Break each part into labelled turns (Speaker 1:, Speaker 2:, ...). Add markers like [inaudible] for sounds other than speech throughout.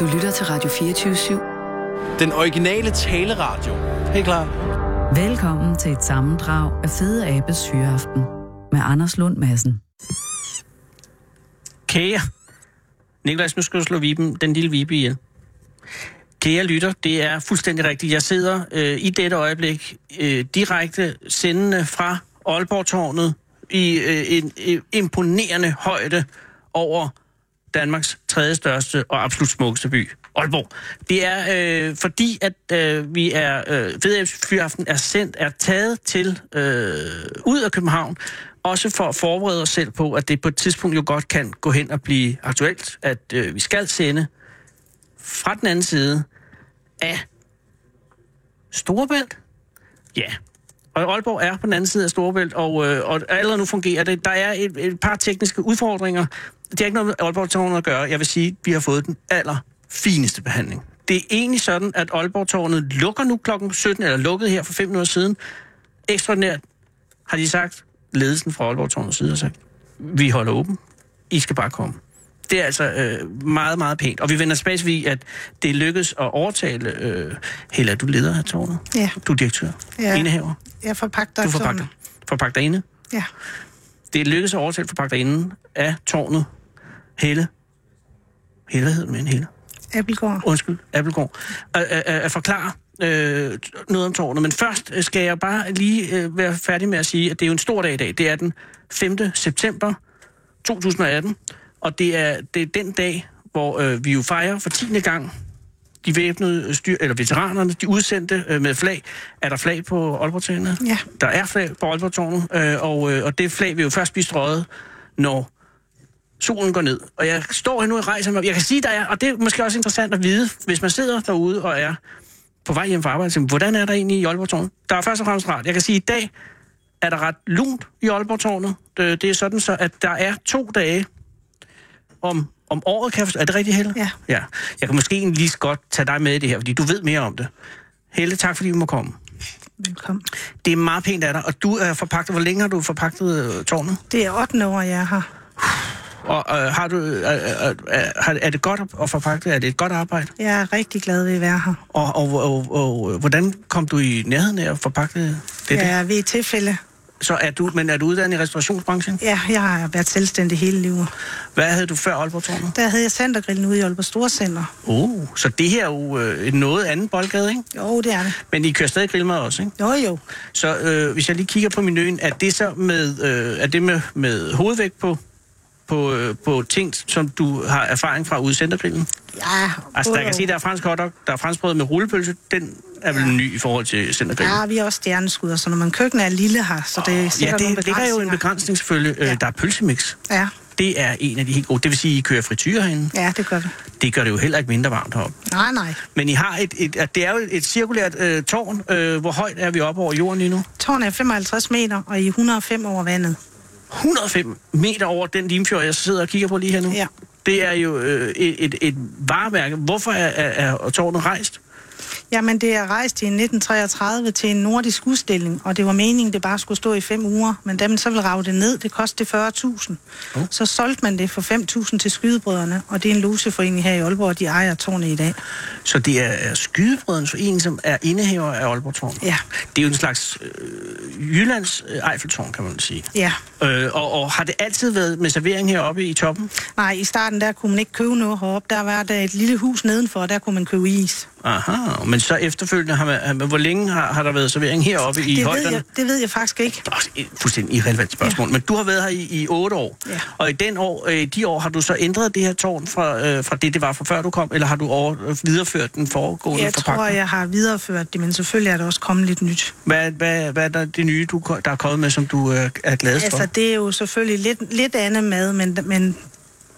Speaker 1: Du lytter til Radio 24-7.
Speaker 2: Den originale taleradio. Helt klar.
Speaker 1: Velkommen til et sammendrag af Fede Abes Hyreaften med Anders Lund Madsen.
Speaker 3: Kære. Niklas, nu skal du slå viben, den lille vibe ihjel. Kære lytter, det er fuldstændig rigtigt. Jeg sidder øh, i dette øjeblik øh, direkte sendende fra Aalborg-tårnet i øh, en øh, imponerende højde over Danmarks tredje største og absolut smukkeste by, Aalborg. Det er øh, fordi, at øh, vi er, øh, ved Fyraften er sendt, er taget til øh, ud af København, også for at forberede os selv på, at det på et tidspunkt jo godt kan gå hen og blive aktuelt, at øh, vi skal sende fra den anden side af Storebælt. Ja. Og Aalborg er på den anden side af Storebælt, og, øh, og allerede nu fungerer det. Der er et, et par tekniske udfordringer. Det har ikke noget med Aalborg Tårnet at gøre. Jeg vil sige, at vi har fået den aller fineste behandling. Det er egentlig sådan, at Aalborg Tårnet lukker nu klokken 17, eller lukkede her for fem minutter siden. Ekstraordinært har de sagt, ledelsen fra Aalborg Tårnets side har sagt, vi holder åben. I skal bare komme. Det er altså øh, meget, meget pænt. Og vi vender tilbage til, at det lykkedes at overtale... Øh, Hella, du er leder af tårnet.
Speaker 4: Ja.
Speaker 3: Du er direktør.
Speaker 4: Ja.
Speaker 3: Indehaver.
Speaker 4: Jeg forpagter.
Speaker 3: Du forpagter. Forpagter inde.
Speaker 4: Ja.
Speaker 3: Det er lykkedes at overtale forpagter inde af tårnet. Helle. Helle hedder den, Helle.
Speaker 4: Appelgård.
Speaker 3: undskyld, Appelgaard, at, at, at, at forklare øh, noget om tårnet. Men først øh, skal jeg bare lige øh, være færdig med at sige, at det er jo en stor dag i dag. Det er den 5. september 2018, og det er, det er den dag, hvor øh, vi jo fejrer for 10. gang de væbnede styr, eller veteranerne, de udsendte øh, med flag. Er der flag på Aalborg-tårnet?
Speaker 4: Ja.
Speaker 3: Der er flag på Aalborg-tårnet, øh, og, øh, og det flag vil jo først blive strøget, når solen går ned. Og jeg står her nu og rejser mig. op. Jeg kan sige, der er, og det er måske også interessant at vide, hvis man sidder derude og er på vej hjem fra arbejde, så, hvordan er der egentlig i Aalborg Tårnet? Der er først og fremmest rart. Jeg kan sige, at i dag er der ret lunt i Aalborg Tårnet. Det, det er sådan så, at der er to dage om, om året, kan jeg forstå. Er det rigtigt, Helle?
Speaker 4: Ja.
Speaker 3: ja. Jeg kan måske egentlig lige så godt tage dig med i det her, fordi du ved mere om det. Helle, tak fordi vi må komme.
Speaker 4: Velkommen.
Speaker 3: Det er meget pænt af dig, og du er forpagtet. Hvor længe har du forpagtet øh, tårnet?
Speaker 4: Det er 8. år, jeg er her.
Speaker 3: Og øh, har du, øh, øh, øh, har- er det godt at- at forpagte? Er det et godt arbejde?
Speaker 4: Jeg er rigtig glad ved at være her.
Speaker 3: Og, og, og, og øh, hvordan kom du i nærheden af at forpagte det?
Speaker 4: jeg
Speaker 3: Ja.
Speaker 4: er ved et tilfælde.
Speaker 3: Så er du, men er du uddannet i restaurationsbranchen?
Speaker 4: Ja, jeg har været selvstændig hele livet.
Speaker 3: Hvad havde du før Aalborg Tårnet?
Speaker 4: Der havde jeg centergrillen ude i Aalborg Storcenter.
Speaker 3: Oh, så det her er jo øh, en noget anden boldgade, ikke?
Speaker 4: Jo, det er det.
Speaker 3: Men I kører stadig grillmad også, ikke?
Speaker 4: Jo, jo.
Speaker 3: Så øh, hvis jeg lige kigger på menuen, er det så med, øh, er det med, med hovedvægt på, på, øh, på ting, som du har erfaring fra ude i centergrillen?
Speaker 4: Ja,
Speaker 3: Altså, der
Speaker 4: jo,
Speaker 3: kan sige, der er fransk hotdog, der er franskbrød med rullepølse, den er vel ny i forhold til centergrillen?
Speaker 4: Ja, vi er også stjerneskud, så når man køkkenet er lille her, så det er
Speaker 3: Ja,
Speaker 4: sikkert nogle
Speaker 3: det, det er jo en
Speaker 4: begrænsninger.
Speaker 3: begrænsning selvfølgelig. Ja.
Speaker 4: Ja.
Speaker 3: Der er pølsemix.
Speaker 4: Ja,
Speaker 3: Det er en af de helt gode. Det vil sige, at I kører frityre herinde.
Speaker 4: ja, det gør vi.
Speaker 3: Det gør det jo heller ikke mindre varmt heroppe.
Speaker 4: Nej, nej.
Speaker 3: Men I har et, et, at det er jo et cirkulært øh, tårn. Øh, hvor højt er vi oppe over jorden lige nu?
Speaker 4: Tårnet er 55 meter, og i 105 over vandet.
Speaker 3: 105 meter over den limfjord, jeg sidder og kigger på lige her nu.
Speaker 4: Ja.
Speaker 3: Det er jo øh, et, et, et vareværk. Hvorfor er, er, er tårnet rejst?
Speaker 4: Jamen, det er rejst i 1933 til en nordisk udstilling, og det var meningen, det bare skulle stå i fem uger. Men da man så ville rave det ned, det kostede 40.000. Oh. Så solgte man det for 5.000 til skydebrødrene, og det er en loseforening her i Aalborg, og de ejer tårnet i dag.
Speaker 3: Så det er, er Skydebrødrens Forening, som er indehaver af Aalborg Tårn.
Speaker 4: Ja.
Speaker 3: Det er jo en slags øh, Jyllands øh, Eiffeltårn, kan man sige.
Speaker 4: Ja.
Speaker 3: Øh, og, og har det altid været med servering heroppe i toppen?
Speaker 4: Nej, i starten der kunne man ikke købe noget heroppe. Der var der et lille hus nedenfor, og der kunne man købe is.
Speaker 3: Aha, men så efterfølgende har man... har man- Hvor længe har, har der været servering heroppe i
Speaker 4: det, ved
Speaker 3: højderne?
Speaker 4: jeg, det ved jeg faktisk ikke.
Speaker 3: Det er også et fuldstændig irrelevant spørgsmål, ja. men du har været her i, i otte år,
Speaker 4: Ja.
Speaker 3: og i den år, øh, de år har du så ændret det her tårn fra, øh, fra det, det var fra før du kom, eller har du over, øh, videreført den foregående
Speaker 4: Jeg
Speaker 3: forpagtning?
Speaker 4: tror, jeg har videreført det, men selvfølgelig er der også kommet lidt nyt.
Speaker 3: Hvad, hvad, hvad er der, det nye, du, ko- der er kommet med, som du øh, er gladest for?
Speaker 4: Altså, det er jo selvfølgelig lidt, lidt andet mad, men, men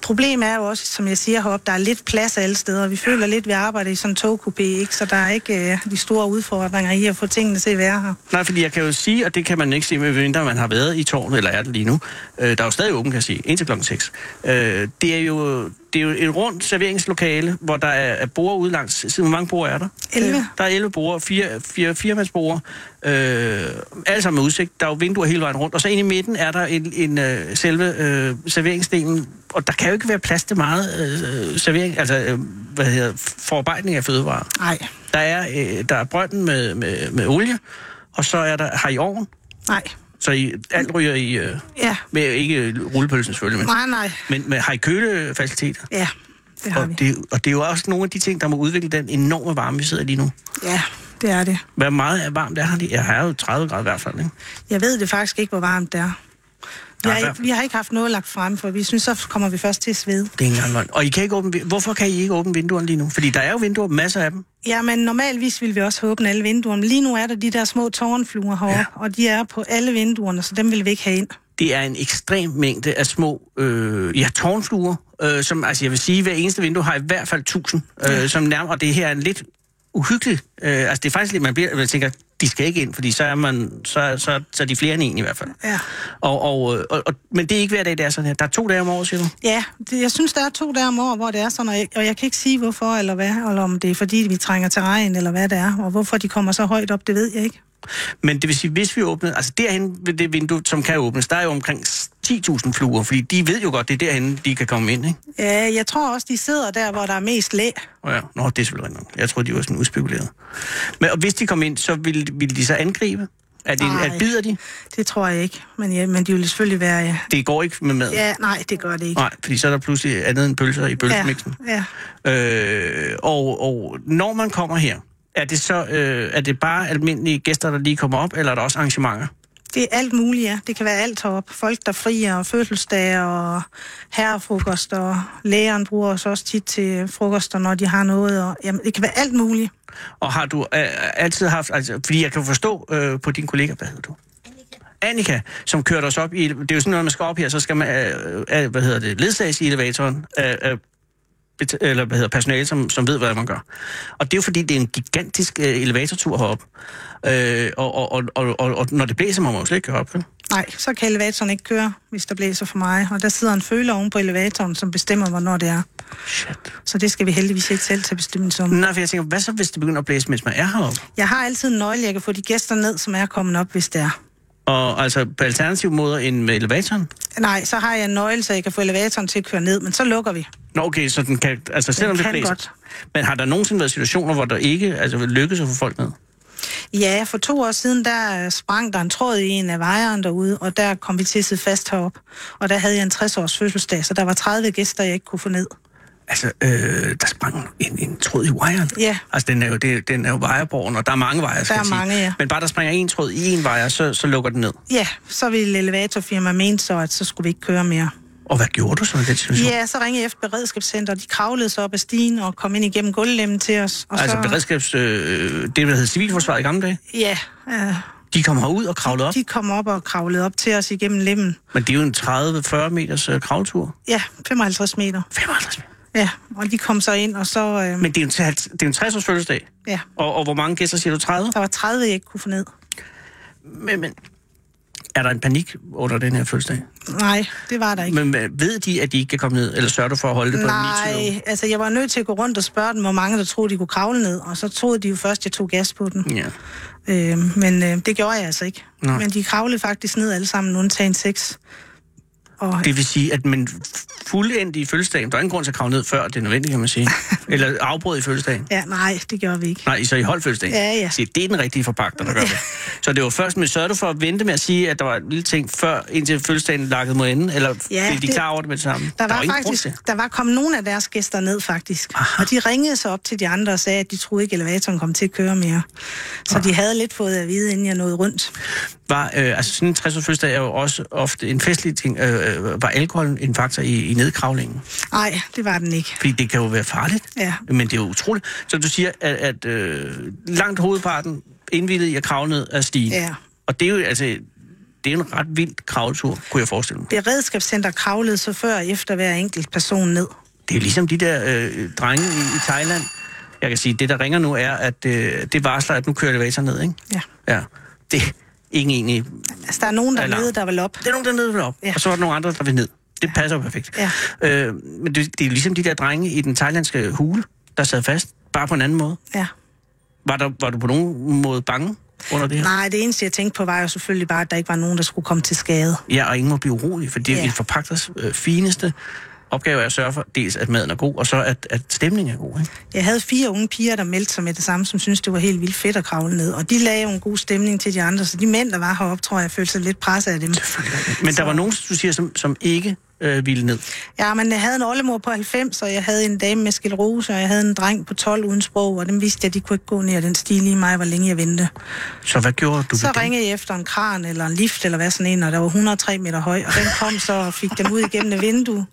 Speaker 4: problemet er jo også, som jeg siger heroppe, der er lidt plads alle steder. Vi føler lidt, at vi arbejder i sådan en togkupé, ikke? så der er ikke øh, de store udfordringer i at få tingene til at være her.
Speaker 3: Nej, fordi jeg kan jo sige, og det kan man ikke sige, medmindre man har været i tårnet, eller er det lige nu. Øh, der er jo stadig åben, kan jeg sige, indtil klokken 6. Øh, det, er jo, det er jo et rundt serveringslokale, hvor der er, er bord ude langs siden. Hvor mange bord er der? Øh,
Speaker 4: 11.
Speaker 3: Der er 11 bord, fire, fire, firemandsbord, øh, alle sammen med udsigt. Der er jo vinduer hele vejen rundt, og så inde i midten er der en, en øh, selve øh, serveringsdelen, og der kan jo ikke være plads til meget øh, servering, altså øh, hvad hedder, forarbejdning af fødevarer.
Speaker 4: Nej,
Speaker 3: Der er, øh, der er brønden med, med, med olie, og så er der, har I ovn,
Speaker 4: nej.
Speaker 3: så I, alt ryger i, øh,
Speaker 4: Ja,
Speaker 3: med, ikke rullepølsen selvfølgelig, men,
Speaker 4: nej, nej.
Speaker 3: men med, har I kølefaciliteter?
Speaker 4: Ja, det har vi.
Speaker 3: Og det, og det er jo også nogle af de ting, der må udvikle den enorme varme, vi sidder i lige nu.
Speaker 4: Ja, det er det.
Speaker 3: Hvor meget er varmt er her? lige? Jeg har jo 30 grader i hvert fald, ikke?
Speaker 4: Jeg ved det faktisk ikke, hvor varmt det er. Vi
Speaker 3: Nej,
Speaker 4: har,
Speaker 3: hvad-
Speaker 4: ikke, vi har ikke haft noget lagt frem, for vi synes, så kommer vi først til at svede.
Speaker 3: Det er ikke engang løgn. Og I kan ikke åbne, vi- hvorfor kan I ikke åbne vinduerne lige nu? Fordi der er jo vinduer, masser af dem.
Speaker 4: Jamen, normalvis ville vi også have åbnet alle vinduerne. men Lige nu er der de der små tårnfluer herovre, ja. og de er på alle vinduerne, så dem vil vi ikke have ind.
Speaker 3: Det er en ekstrem mængde af små øh, ja, tårnfluer, øh, som altså jeg vil sige, hver eneste vindue har i hvert fald 1000, øh, som nærmer, og det her er en lidt uhyggelig, øh, altså det er faktisk lidt, man, bliver, man tænker, de skal ikke ind, fordi så er, man, så, så, så er de flere end en i hvert fald.
Speaker 4: Ja.
Speaker 3: Og, og, øh, og, og, men det er ikke hver dag, det er sådan her. Der er to dage om året, siger du?
Speaker 4: Ja, det, jeg synes, der er to dage om året, hvor det er sådan, og jeg, og jeg kan ikke sige, hvorfor eller hvad, eller om det er, fordi vi trænger til regn, eller hvad det er, og hvorfor de kommer så højt op, det ved jeg ikke.
Speaker 3: Men det vil sige, hvis vi åbnede, altså derhen ved det vindue, som kan åbnes, der er jo omkring 10.000 fluer, fordi de ved jo godt, det er derhen, de kan komme ind, ikke?
Speaker 4: Ja, jeg tror også, de sidder der, hvor der er mest læ.
Speaker 3: Og ja, nå, det er selvfølgelig rigtigt nok. Jeg troede, de var sådan udspekuleret. Men og hvis de kom ind, så ville, ville de så angribe? Er det,
Speaker 4: Nej.
Speaker 3: at bider de?
Speaker 4: Det tror jeg ikke, men, ja, men de vil selvfølgelig være... Ja,
Speaker 3: Det går ikke med mad.
Speaker 4: ja nej, det gør det ikke.
Speaker 3: Nej, fordi så er der pludselig andet end pølser i pølsemixen.
Speaker 4: Ja, ja.
Speaker 3: Øh, og, og når man kommer her, er det så øh, er det bare almindelige gæster, der lige kommer op, eller er der også arrangementer?
Speaker 4: Det er alt muligt, ja. Det kan være alt heroppe. Folk, der frier, og fødselsdage, og herrefrokost, og lægeren bruger os også tit til frokoster, når de har noget. Og, jamen, det kan være alt muligt.
Speaker 3: Og har du øh, altid haft, altså, fordi jeg kan forstå øh, på din kollega, hvad hedder du? Annika, som kørte os op i, det er jo sådan noget, man skal op her, så skal man, øh, øh, hvad hedder det, ledsages i elevatoren, øh, øh, bet- eller hvad hedder personale, som, som ved, hvad man gør. Og det er jo fordi, det er en gigantisk øh, elevatortur heroppe. Øh, og, og, og, og, og, og, når det blæser, må man jo slet ikke køre op. vel?
Speaker 4: Nej, så kan elevatoren ikke køre, hvis der blæser for meget. Og der sidder en føler oven på elevatoren, som bestemmer, hvornår det er.
Speaker 3: Shit.
Speaker 4: Så det skal vi heldigvis ikke selv tage bestemmelse om.
Speaker 3: Nej, for jeg tænker, hvad så, hvis det begynder at blæse, mens man er heroppe?
Speaker 4: Jeg har altid en nøgle, jeg kan få de gæster ned, som er kommet op, hvis det er.
Speaker 3: Og altså på alternative måder end med elevatoren?
Speaker 4: Nej, så har jeg en nøgle, så jeg kan få elevatoren til at køre ned, men så lukker vi.
Speaker 3: Nå, okay, så den kan... Altså, selvom
Speaker 4: kan
Speaker 3: det blæser.
Speaker 4: godt.
Speaker 3: Men har der nogensinde været situationer, hvor der ikke altså, lykkes at få folk ned?
Speaker 4: Ja, for to år siden, der øh, sprang der en tråd i en af vejeren derude, og der kom vi til at sidde fast heroppe. Og der havde jeg en 60-års fødselsdag, så der var 30 gæster, jeg ikke kunne få ned.
Speaker 3: Altså, øh, der sprang en, en tråd i wiren.
Speaker 4: Ja.
Speaker 3: Altså, den er jo, det, den er jo wireborgen, og der er mange wire, skal
Speaker 4: er
Speaker 3: jeg sige.
Speaker 4: mange, ja.
Speaker 3: Men bare der springer en tråd i en wire, så, så lukker den ned.
Speaker 4: Ja, så ville elevatorfirmaet mene så, at så skulle vi ikke køre mere.
Speaker 3: Og hvad gjorde du så i den situation?
Speaker 4: Ja, så ringede jeg efter beredskabscenteret, de kravlede så op ad stigen og kom ind igennem gulvlemmen til os. Og
Speaker 3: Altså,
Speaker 4: så,
Speaker 3: beredskabs... Øh, det, der hedder civilforsvaret i gamle dage,
Speaker 4: Ja, øh,
Speaker 3: de kom herud og kravlede op.
Speaker 4: de kom op og kravlede op til os igennem lemmen.
Speaker 3: Men det er jo en 30-40 meters øh, kravletur.
Speaker 4: Ja, 55 meter.
Speaker 3: 55 meter.
Speaker 4: Ja, og de kom så ind, og så... Øh,
Speaker 3: Men det er jo en, det er jo en 60-års fødselsdag.
Speaker 4: ja,
Speaker 3: Og, og hvor mange gæster siger du? 30?
Speaker 4: der var 30, jeg ikke kunne få ned.
Speaker 3: Men, men er der en panik under den her fødselsdag?
Speaker 4: Nej, det var der ikke.
Speaker 3: Men hvad- ved de, at de ikke kan komme ned, eller sørger du for at holde det på en 29?
Speaker 4: Nej, altså jeg var nødt til at gå rundt og spørge dem, hvor mange der troede, de kunne kravle ned, og så troede de jo først, jeg tog gas på den.
Speaker 3: Ja.
Speaker 4: Øh, men øh, det gjorde jeg altså ikke.
Speaker 3: Nå.
Speaker 4: Men de kravlede faktisk ned alle sammen, undtagen seks. Og
Speaker 3: Det vil sige, at man fuldendt i fødselsdagen, der er ingen grund til at kravle ned før, det er nødvendigt, kan man
Speaker 4: [laughs]
Speaker 3: sige. Eller afbrød i fødselsdagen.
Speaker 4: ja, nej, det gjorde vi ikke.
Speaker 3: Nej, så I holdt fødselsdagen.
Speaker 4: Ja, ja.
Speaker 3: Se, det er den rigtige forpagter, der gør
Speaker 4: [laughs]
Speaker 3: det. Så det var først, men sørger du for at vente med at sige, at der var en lille ting før, indtil fødselsdagen lakkede mod enden, eller ja,
Speaker 4: Ja,
Speaker 3: blev de
Speaker 4: det-
Speaker 3: klar over det med det samme?
Speaker 4: Der
Speaker 3: jo
Speaker 4: var,
Speaker 3: ingen grund
Speaker 4: faktisk,
Speaker 3: til.
Speaker 4: der var kommet nogle af deres gæster ned, faktisk. Aha. Og de ringede så op til de andre og sagde, at de troede ikke, elevatoren kom til at køre mere. Så
Speaker 3: Ah.
Speaker 4: de havde lidt fået at vide, inden jeg nåede rundt.
Speaker 3: Var, øh, altså sådan en 60 års fødselsdag er jo også ofte en festlig ting. Øh, øh, var alkohol en faktor i, i nedkravlingen?
Speaker 4: Nej, det var den ikke.
Speaker 3: Fordi det kan jo være farligt.
Speaker 4: Ja.
Speaker 3: Men det er jo utroligt. Så du siger, at, at øh, langt hovedparten indvilligede i at kravle ned af stigen.
Speaker 4: Ja.
Speaker 3: Og det er jo altså, det er en ret vild kravletur, kunne jeg forestille mig.
Speaker 4: Beredskabscenter kravlede så før og efter hver enkelt person ned.
Speaker 3: Det er jo ligesom de der øh, drenge i, i Thailand. Jeg kan sige, det der ringer nu er, at øh, det varsler, at nu kører elevatoren ned, ikke?
Speaker 4: Ja.
Speaker 3: Ja. Det er ingen egentlig...
Speaker 4: Altså, der er nogen
Speaker 3: Alarm.
Speaker 4: dernede, der vil op.
Speaker 3: Der er nogen dernede, der vil op, ja.
Speaker 4: Ja.
Speaker 3: og så er der nogle andre, der vil ned. Det passer jo perfekt.
Speaker 4: Ja.
Speaker 3: Øh, men det, det er ligesom de der drenge i den thailandske hule, der sad fast, bare på en anden måde.
Speaker 4: Ja.
Speaker 3: Var, der, var du på nogen måde bange under det her?
Speaker 4: Nej, det eneste, jeg tænkte på, var jo selvfølgelig bare, at der ikke var nogen, der skulle komme til skade.
Speaker 3: Ja, og ingen må blive urolig, for det er
Speaker 4: Ja.
Speaker 3: ja. forpagters øh, fineste opgave er at sørge for, dels at maden er god, og så at, at stemningen er god. Ikke?
Speaker 4: Jeg havde fire unge piger, der meldte sig med det samme, som syntes, det var helt vildt fedt at kravle ned. Og de lagde jo en god stemning til de andre, så de mænd, der var heroppe, tror jeg, følte sig lidt presset af dem.
Speaker 3: Men der var nogen, du siger, som, som ikke øh, ville ned.
Speaker 4: Ja, men jeg havde en oldemor på 90, og jeg havde en dame med skilrose, og jeg havde en dreng på 12 uden sprog, og dem vidste jeg, at de kunne ikke gå ned ad den sti lige mig, hvor længe jeg ventede.
Speaker 3: Så hvad gjorde du
Speaker 4: Så
Speaker 3: ved det?
Speaker 4: ringede jeg efter en kran eller en lift eller hvad sådan en, og der var 103 meter høj, og den kom så og fik dem ud igennem et vindue.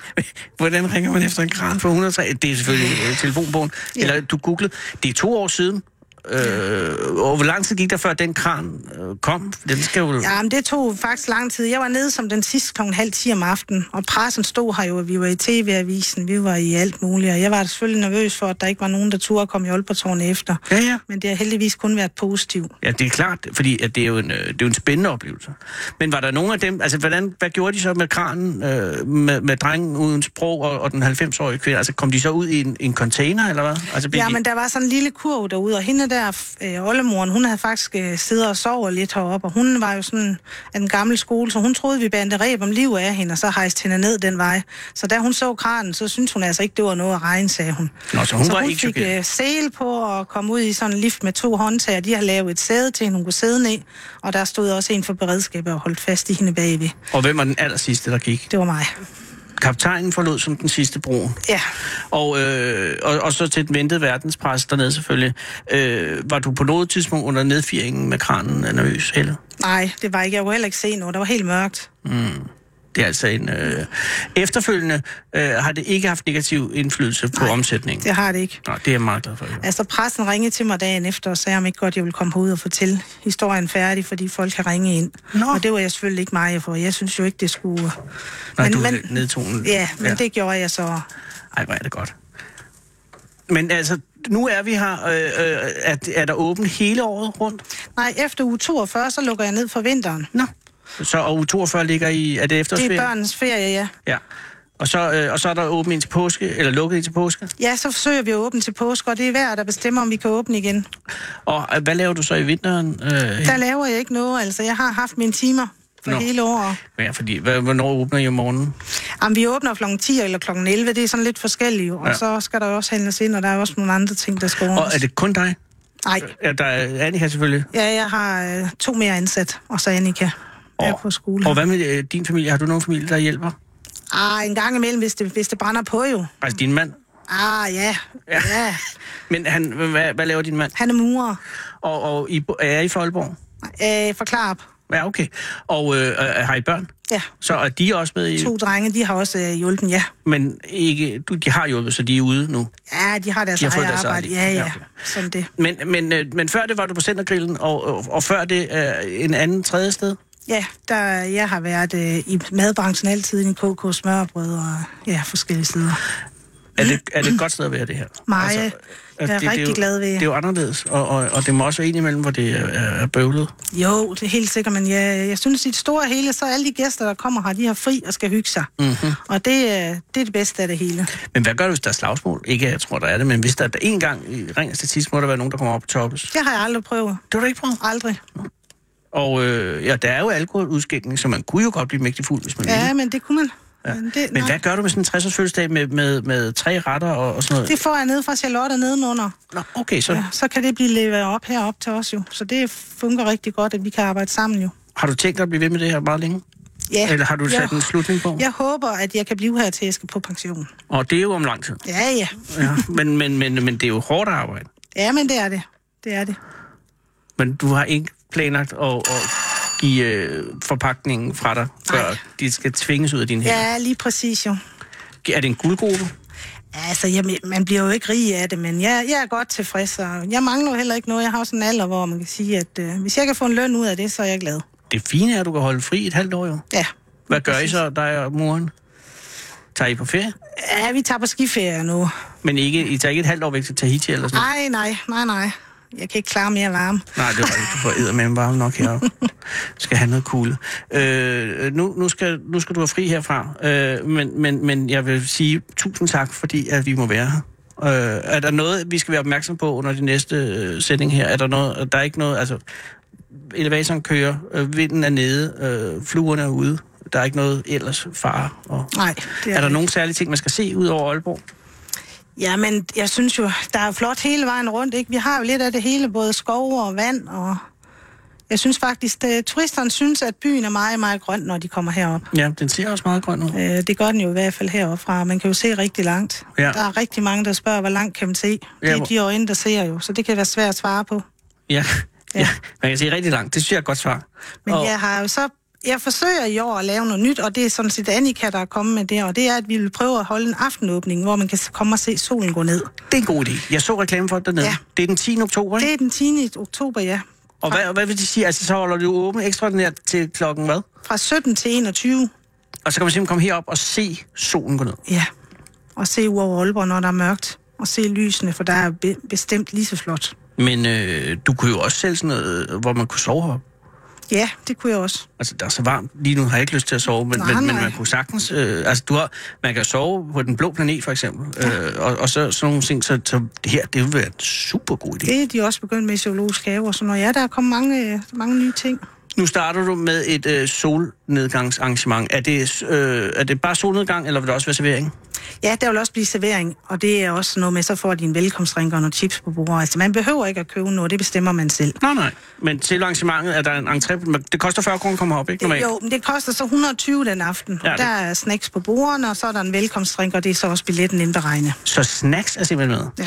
Speaker 3: [laughs] Hvordan ringer man efter en kran på 103? Det er selvfølgelig øh, telefonbogen. Ja. Eller du googlede. Det er to år siden. Øh, og hvor lang tid gik der, før den kran øh, kom? Den skal jo... Ja.
Speaker 4: Ja, men det tog faktisk lang tid. Jeg var nede som den sidste klokken halv 10 om aftenen, og pressen stod her jo, og vi var i tv-avisen, vi var i alt muligt, og jeg var selvfølgelig nervøs for, at der ikke var nogen, der turde komme i Aalborg efter.
Speaker 3: Ja, ja.
Speaker 4: Men det har heldigvis kun været positivt.
Speaker 3: Ja, det er klart, fordi at det, er jo en, øh, det er jo en spændende oplevelse. Men var der nogen af dem, altså hvordan, hvad gjorde de så med kranen, øh, med, med drengen uden sprog og, og den 90-årige kvinde? Altså kom de så ud i en, en container, eller hvad? Altså, blev
Speaker 4: Ja,
Speaker 3: de...
Speaker 4: men der var sådan en lille kurv derude, og hende der, øh, oldemoren, hun havde faktisk øh, siddet og sovet lidt heroppe, og hun var jo sådan af den gamle skole, så hun troede, vi bandte reb om liv af hende, og så hejste hende ned den vej. Så da hun så kranen, så syntes hun altså ikke, det var noget at regne, sagde hun.
Speaker 3: Nå, så hun
Speaker 4: så
Speaker 3: var
Speaker 4: hun
Speaker 3: ikke
Speaker 4: fik
Speaker 3: chokeret.
Speaker 4: øh, sele på og kom ud i sådan en lift med to håndtag, og de har lavet et sæde til hende, hun kunne sidde ned, og der stod også en for beredskabet og holdt fast i hende bagved.
Speaker 3: Og hvem var den aller sidste, der gik?
Speaker 4: Det var mig.
Speaker 3: Kaptajnen forlod som den sidste broen.
Speaker 4: Ja,
Speaker 3: Og, øh, og, og så til den ventede verdenspres dernede selvfølgelig. Øh, var du på noget tidspunkt under nedfiringen med kranen af nervøs heller?
Speaker 4: nej, det var ikke. Jeg kunne heller ikke se noget. Det var helt mørkt.
Speaker 3: Det er altså en... Øh, efterfølgende øh, har det ikke haft negativ indflydelse på Nej, omsætningen.
Speaker 4: Det har det ikke.
Speaker 3: Nej, det er jeg meget glad for. at høre.
Speaker 4: Altså, pressen ringede til mig dagen efter og sagde, om ikke godt, jeg ville komme herud og fortælle historien færdig, fordi folk har ringet ind.
Speaker 3: Nå.
Speaker 4: Og det var jeg selvfølgelig ikke mig for. Jeg synes jo ikke, det skulle...
Speaker 3: Nej, du nedtonen.
Speaker 4: Ja, men ja. det gjorde jeg så.
Speaker 3: Ej, hvor er det godt. Men altså, nu er vi her. Øh, øh, er, er der åbent hele året rundt?
Speaker 4: Nej, efter uge 42, så lukker jeg ned for vinteren.
Speaker 3: Nå. Så og uge 42 ligger i... Er det
Speaker 4: Det
Speaker 3: efterårsferie?
Speaker 4: er børnens ferie, ja.
Speaker 3: Ja. Og så, øh, og så er der åbent indtil påske, eller lukket indtil påske.
Speaker 4: Ja, så forsøger vi at åbne til påske, og det er hver, der bestemmer, om vi kan åbne igen.
Speaker 3: Og øh, hvad laver du så i vinteren? Øh,
Speaker 4: Der laver jeg ikke noget, altså. Jeg har haft mine timer for
Speaker 3: Nå.
Speaker 4: hele året.
Speaker 3: ja, fordi, hvad, hvornår åbner I om morgenen?
Speaker 4: Jamen, vi åbner kl. 10 eller kl. 11, det er sådan lidt forskelligt, og
Speaker 3: Ja.
Speaker 4: ja. så skal der jo også handles ind, og der er også nogle andre ting, der skal
Speaker 3: Og
Speaker 4: ordnes.
Speaker 3: er det kun dig?
Speaker 4: Nej,
Speaker 3: Ja, der er Annika selvfølgelig.
Speaker 4: Ja, jeg har øh, to mere ansat, og så Annika og, er på skole.
Speaker 3: Og hvad med øh, din familie? Har du nogen familie, der hjælper?
Speaker 4: Ah, en gang imellem, hvis det, hvis det brænder på jo.
Speaker 3: Altså din mand?
Speaker 4: Ah, ja. ja. ja.
Speaker 3: Men han, hvad, hvad laver din mand?
Speaker 4: Han er murer.
Speaker 3: Og, og I, bo- er I fra Aalborg?
Speaker 4: Øh, forklar op.
Speaker 3: Ja, okay. Og øh, øh, har I børn?
Speaker 4: Ja.
Speaker 3: Så er de også med i...
Speaker 4: To drenge, de har også øh, hjulpet, ja.
Speaker 3: Men ikke, du, de har hjulpet, så de er ude nu.
Speaker 4: Ja, de har deres
Speaker 3: De har fået
Speaker 4: eget
Speaker 3: deres eget
Speaker 4: arbejde.
Speaker 3: liv.
Speaker 4: ja,
Speaker 3: Ja,
Speaker 4: ja.
Speaker 3: okay.
Speaker 4: Sådan det.
Speaker 3: Men, men, øh, men før det var du på Centergrillen, og, og, og før det øh, en anden tredje sted?
Speaker 4: Ja, der, jeg har været øh, i madbranchen altid i KK Smørbrød og ja, forskellige steder.
Speaker 3: Er det, er det et godt sted at være,
Speaker 4: [clears throat]
Speaker 3: det her?
Speaker 4: Meget.
Speaker 3: at
Speaker 4: Jeg er
Speaker 3: det
Speaker 4: rigtig
Speaker 3: jo,
Speaker 4: glad ved-
Speaker 3: Det er jo anderledes, og, og, og det må også være en imellem, hvor det er, er bøvlet.
Speaker 4: Jo, det er helt sikkert, men jeg, jeg synes, i det store hele, så alle de gæster, der kommer her, de har fri og skal hygge sig.
Speaker 3: Mhm.
Speaker 4: Mm-hmm. Og det, øh, det er det bedste af det hele.
Speaker 3: Men hvad gør du, hvis der er slagsmål? Ikke, jeg tror, der er det, men hvis der er en gang i ringen statistisk, må der være nogen, der kommer op og toppes. Det
Speaker 4: Det har jeg aldrig prøvet.
Speaker 3: har du ikke prøvet.
Speaker 4: Aldrig.
Speaker 3: Og øh, ja, der er jo alkoholudskænkning, så man kunne jo godt blive mægtig fuld, hvis man ville.
Speaker 4: Ja, men det kunne man. Ja. Men det,
Speaker 3: Men
Speaker 4: nej.
Speaker 3: hvad gør du med sådan en 60-års fødselsdag med, med, med tre retter og, og sådan noget?
Speaker 4: det får jeg ned fra Charlotte nedenunder.
Speaker 3: Nå, okay, så
Speaker 4: Ja, så kan det blive leveret op herop til os jo. Så det fungerer rigtig godt, at vi kan arbejde sammen jo.
Speaker 3: har du tænkt dig at blive ved med det her meget længe?
Speaker 4: Ja.
Speaker 3: Eller har du sat
Speaker 4: jeg,
Speaker 3: en slutning på?
Speaker 4: Jeg håber, at jeg kan blive her til jeg skal på pension.
Speaker 3: Og det er jo om lang tid.
Speaker 4: Ja, ja.
Speaker 3: Ja. men, men, men, men det er jo hårdt arbejde.
Speaker 4: Ja, men det er det. Det er det.
Speaker 3: Men du har ikke planlagt at, at give øh, forpakningen fra dig, før
Speaker 4: Nej.
Speaker 3: de skal tvinges ud af dine hænder.
Speaker 4: Ja, lige præcis jo.
Speaker 3: Ja. Er det en guldgruppe?
Speaker 4: Altså, jeg, man bliver jo ikke rig af det, men jeg, jeg er godt tilfreds, og jeg mangler jo heller ikke noget. Jeg har også en alder, hvor man kan sige, at øh, hvis jeg kan få en løn ud af det, så er jeg glad.
Speaker 3: Det fine er, at du kan holde fri et halvt år jo.
Speaker 4: Ja.
Speaker 3: Hvad gør I så, dig og moren? Tager I på ferie?
Speaker 4: Ja, vi tager på skiferie nu.
Speaker 3: Men ikke, I tager ikke et halvt år væk til Tahiti eller sådan noget?
Speaker 4: Nej, nej, nej, nej. Jeg kan ikke klare mere varme.
Speaker 3: Nej, det var ikke. Du får eddermame varme nok heroppe. skal have noget kugle. Øh, nu, nu, skal, nu skal du have fri herfra. Øh, men, men, men jeg vil sige tusind tak, fordi at vi må være her. Øh, er der noget, vi skal være opmærksom på under de næste øh, sætning her? Er der noget, der er ikke noget, altså elevatoren kører, øh, vinden er nede, øh, fluerne er ude. Der er ikke noget ellers fare. Og...
Speaker 4: Nej,
Speaker 3: Er, er der nogle særlige ting, man skal se ud over Aalborg?
Speaker 4: Ja, men jeg synes jo, der er flot hele vejen rundt, ikke? Vi har jo lidt af det hele, både skov og vand, og jeg synes faktisk, at turisterne synes, at byen er meget, meget grøn, når de kommer herop.
Speaker 3: Ja, den ser også meget grøn ud.
Speaker 4: Øh, Det gør den jo i hvert fald heroppe fra. Man kan jo se rigtig langt.
Speaker 3: Ja.
Speaker 4: Der er rigtig mange, der spørger, hvor langt kan man se? Det
Speaker 3: Ja,
Speaker 4: er
Speaker 3: hvor-
Speaker 4: de øjne, der ser jo, så det kan være svært at svare på.
Speaker 3: Ja.
Speaker 4: Ja.
Speaker 3: ja. Man kan se rigtig langt. Det synes jeg er et godt svar.
Speaker 4: Men
Speaker 3: og,
Speaker 4: jeg har jo så... Jeg forsøger i år at lave noget nyt, og det er sådan set Annika, der er kommet med det, og det er, at vi vil prøve at holde en aftenåbning, hvor man kan komme og se solen gå ned.
Speaker 3: Det er en god idé. Jeg så reklame for det dernede.
Speaker 4: Ja.
Speaker 3: Ja. Det er den 10. oktober, ikke?
Speaker 4: Det er den 10. oktober, ja.
Speaker 3: Og hvad, hvad vil de sige? Altså, så holder du åben ekstraordinært til klokken hvad?
Speaker 4: Fra 17 til 21.
Speaker 3: Og så kan man simpelthen komme herop og se solen gå ned.
Speaker 4: Ja, og se ud over Aalborg, når der er mørkt. Og se lysene, for der er be- bestemt lige så flot.
Speaker 3: Men øh, du kunne jo også sælge sådan noget, øh, hvor man kunne sove heroppe.
Speaker 4: Ja, det kunne jeg også.
Speaker 3: Altså, der er så varmt. Lige nu har jeg ikke lyst til at sove, men,
Speaker 4: Nej,
Speaker 3: nej, men, men
Speaker 4: nej.
Speaker 3: man kunne sagtens... Øh, altså, du har, man kan sove på den blå planet, for eksempel. Ja. Øh, og, og så sådan nogle ting, så, så det her, det vil være en super god idé.
Speaker 4: Det er de også begyndt med i zoologisk have, og så når ja, der er kommet mange, øh, mange nye ting.
Speaker 3: Nu starter du med et øh, solnedgangsarrangement. Er det, øh, er det bare solnedgang, eller vil der også være servering?
Speaker 4: Ja, der vil også blive servering, og det er også noget med, så får de en velkomstdrink og nogle chips på bordet. Altså, man behøver ikke at købe noget, det bestemmer man selv.
Speaker 3: Nej, nej. Men til arrangementet er der en entré... men Det koster 40 kroner at komme herop, ikke normalt?
Speaker 4: Jo, men det koster så 120 den aften.
Speaker 3: Ja,
Speaker 4: Ja,
Speaker 3: det-
Speaker 4: der er snacks på bordene, og så er der en velkomstdrink, og det er så også billetten indberegnet.
Speaker 3: Så snacks er simpelthen med.
Speaker 4: Ja.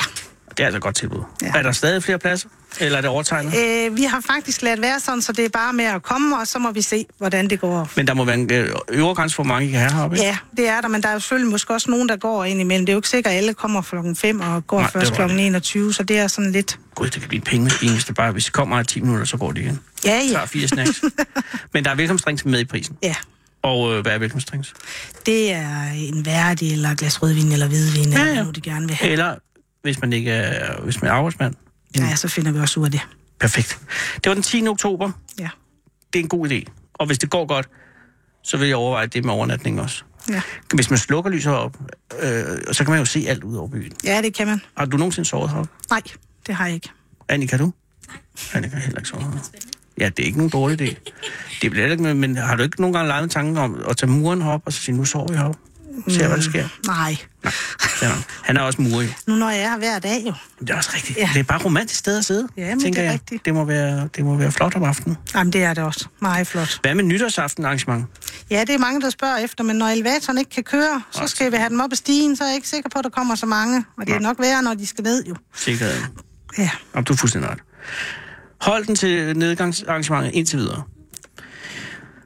Speaker 3: Det er altså et godt tilbud.
Speaker 4: Ja.
Speaker 3: Ja. Er der stadig flere pladser? Eller er det overtegnet?
Speaker 4: Øh, vi har faktisk ladt være sådan, så det er bare med at komme, og så må vi se, hvordan det går.
Speaker 3: Men der må være en øh, øvre grænse for, hvor mange I kan have heroppe, ikke?
Speaker 4: Ja, det er der, men der er jo selvfølgelig måske også nogen, der går ind imellem. Det er jo ikke sikkert, at alle kommer klokken 5 og går
Speaker 3: Nej,
Speaker 4: Nej,
Speaker 3: det
Speaker 4: først
Speaker 3: var
Speaker 4: klokken
Speaker 3: det.
Speaker 4: 21, så det er sådan lidt...
Speaker 3: Gud, det kan blive en pengemaskine, hvis det bare... Hvis det kommer i 10 minutter, så går det igen.
Speaker 4: Ja,
Speaker 3: Så
Speaker 4: ja.
Speaker 3: er fire snacks.
Speaker 4: [laughs]
Speaker 3: Men der er velkomstdrinks med i prisen.
Speaker 4: Ja,
Speaker 3: Og øh, hvad er velkomstdrinks?
Speaker 4: det er en værdig eller et glas rødvin eller hvidvin, ja, ja. eller
Speaker 3: ja.
Speaker 4: hvad nu de gerne vil have.
Speaker 3: Eller, hvis man ikke er, hvis man er arbejdsmand.
Speaker 4: Ja, ja, så finder vi også ud af det.
Speaker 3: Perfekt. Det var den 10. oktober.
Speaker 4: Ja.
Speaker 3: Det er en god idé. Og hvis det går godt, så vil jeg overveje det med overnatning også.
Speaker 4: Ja.
Speaker 3: Hvis man slukker lyset op, øh, så kan man jo se alt ud over byen.
Speaker 4: ja, det kan man.
Speaker 3: Har du nogensinde sovet heroppe?
Speaker 4: Nej, det har jeg ikke.
Speaker 3: Annika, du? Nej. Annika har heller ikke sovet. Ja, det er ikke nogen dårlig idé. Det bliver heller ikke, noget- men har du ikke nogen gange leget med tanken om at tage muren op og så sige, nu sover vi heroppe? Se, hvad der sker.
Speaker 4: Nej.
Speaker 3: Nej, det er nok. han er også murer, jo.
Speaker 4: Nu når jeg er her hver dag jo.
Speaker 3: Men Det er også rigtigt.
Speaker 4: Ja.
Speaker 3: Ja. Det er bare et romantisk sted at sidde,
Speaker 4: Ja, men
Speaker 3: tænker
Speaker 4: det er
Speaker 3: jeg.
Speaker 4: rigtigt.
Speaker 3: Det må, være, det må være flot om aftenen.
Speaker 4: Jamen, det er det også. Meget flot.
Speaker 3: Hvad med nytårsaften arrangement?
Speaker 4: Ja, det er mange, der spørger efter, men når elevatoren ikke kan køre, så skal vi have dem op ad stigen, så er jeg ikke sikker på, at der kommer så mange. Og det er nok værre, når de skal ned jo.
Speaker 3: Sikkerheden.
Speaker 4: Ja.
Speaker 3: Om du er fuldstændig ret. Hold den til nedgangsarrangementet indtil videre.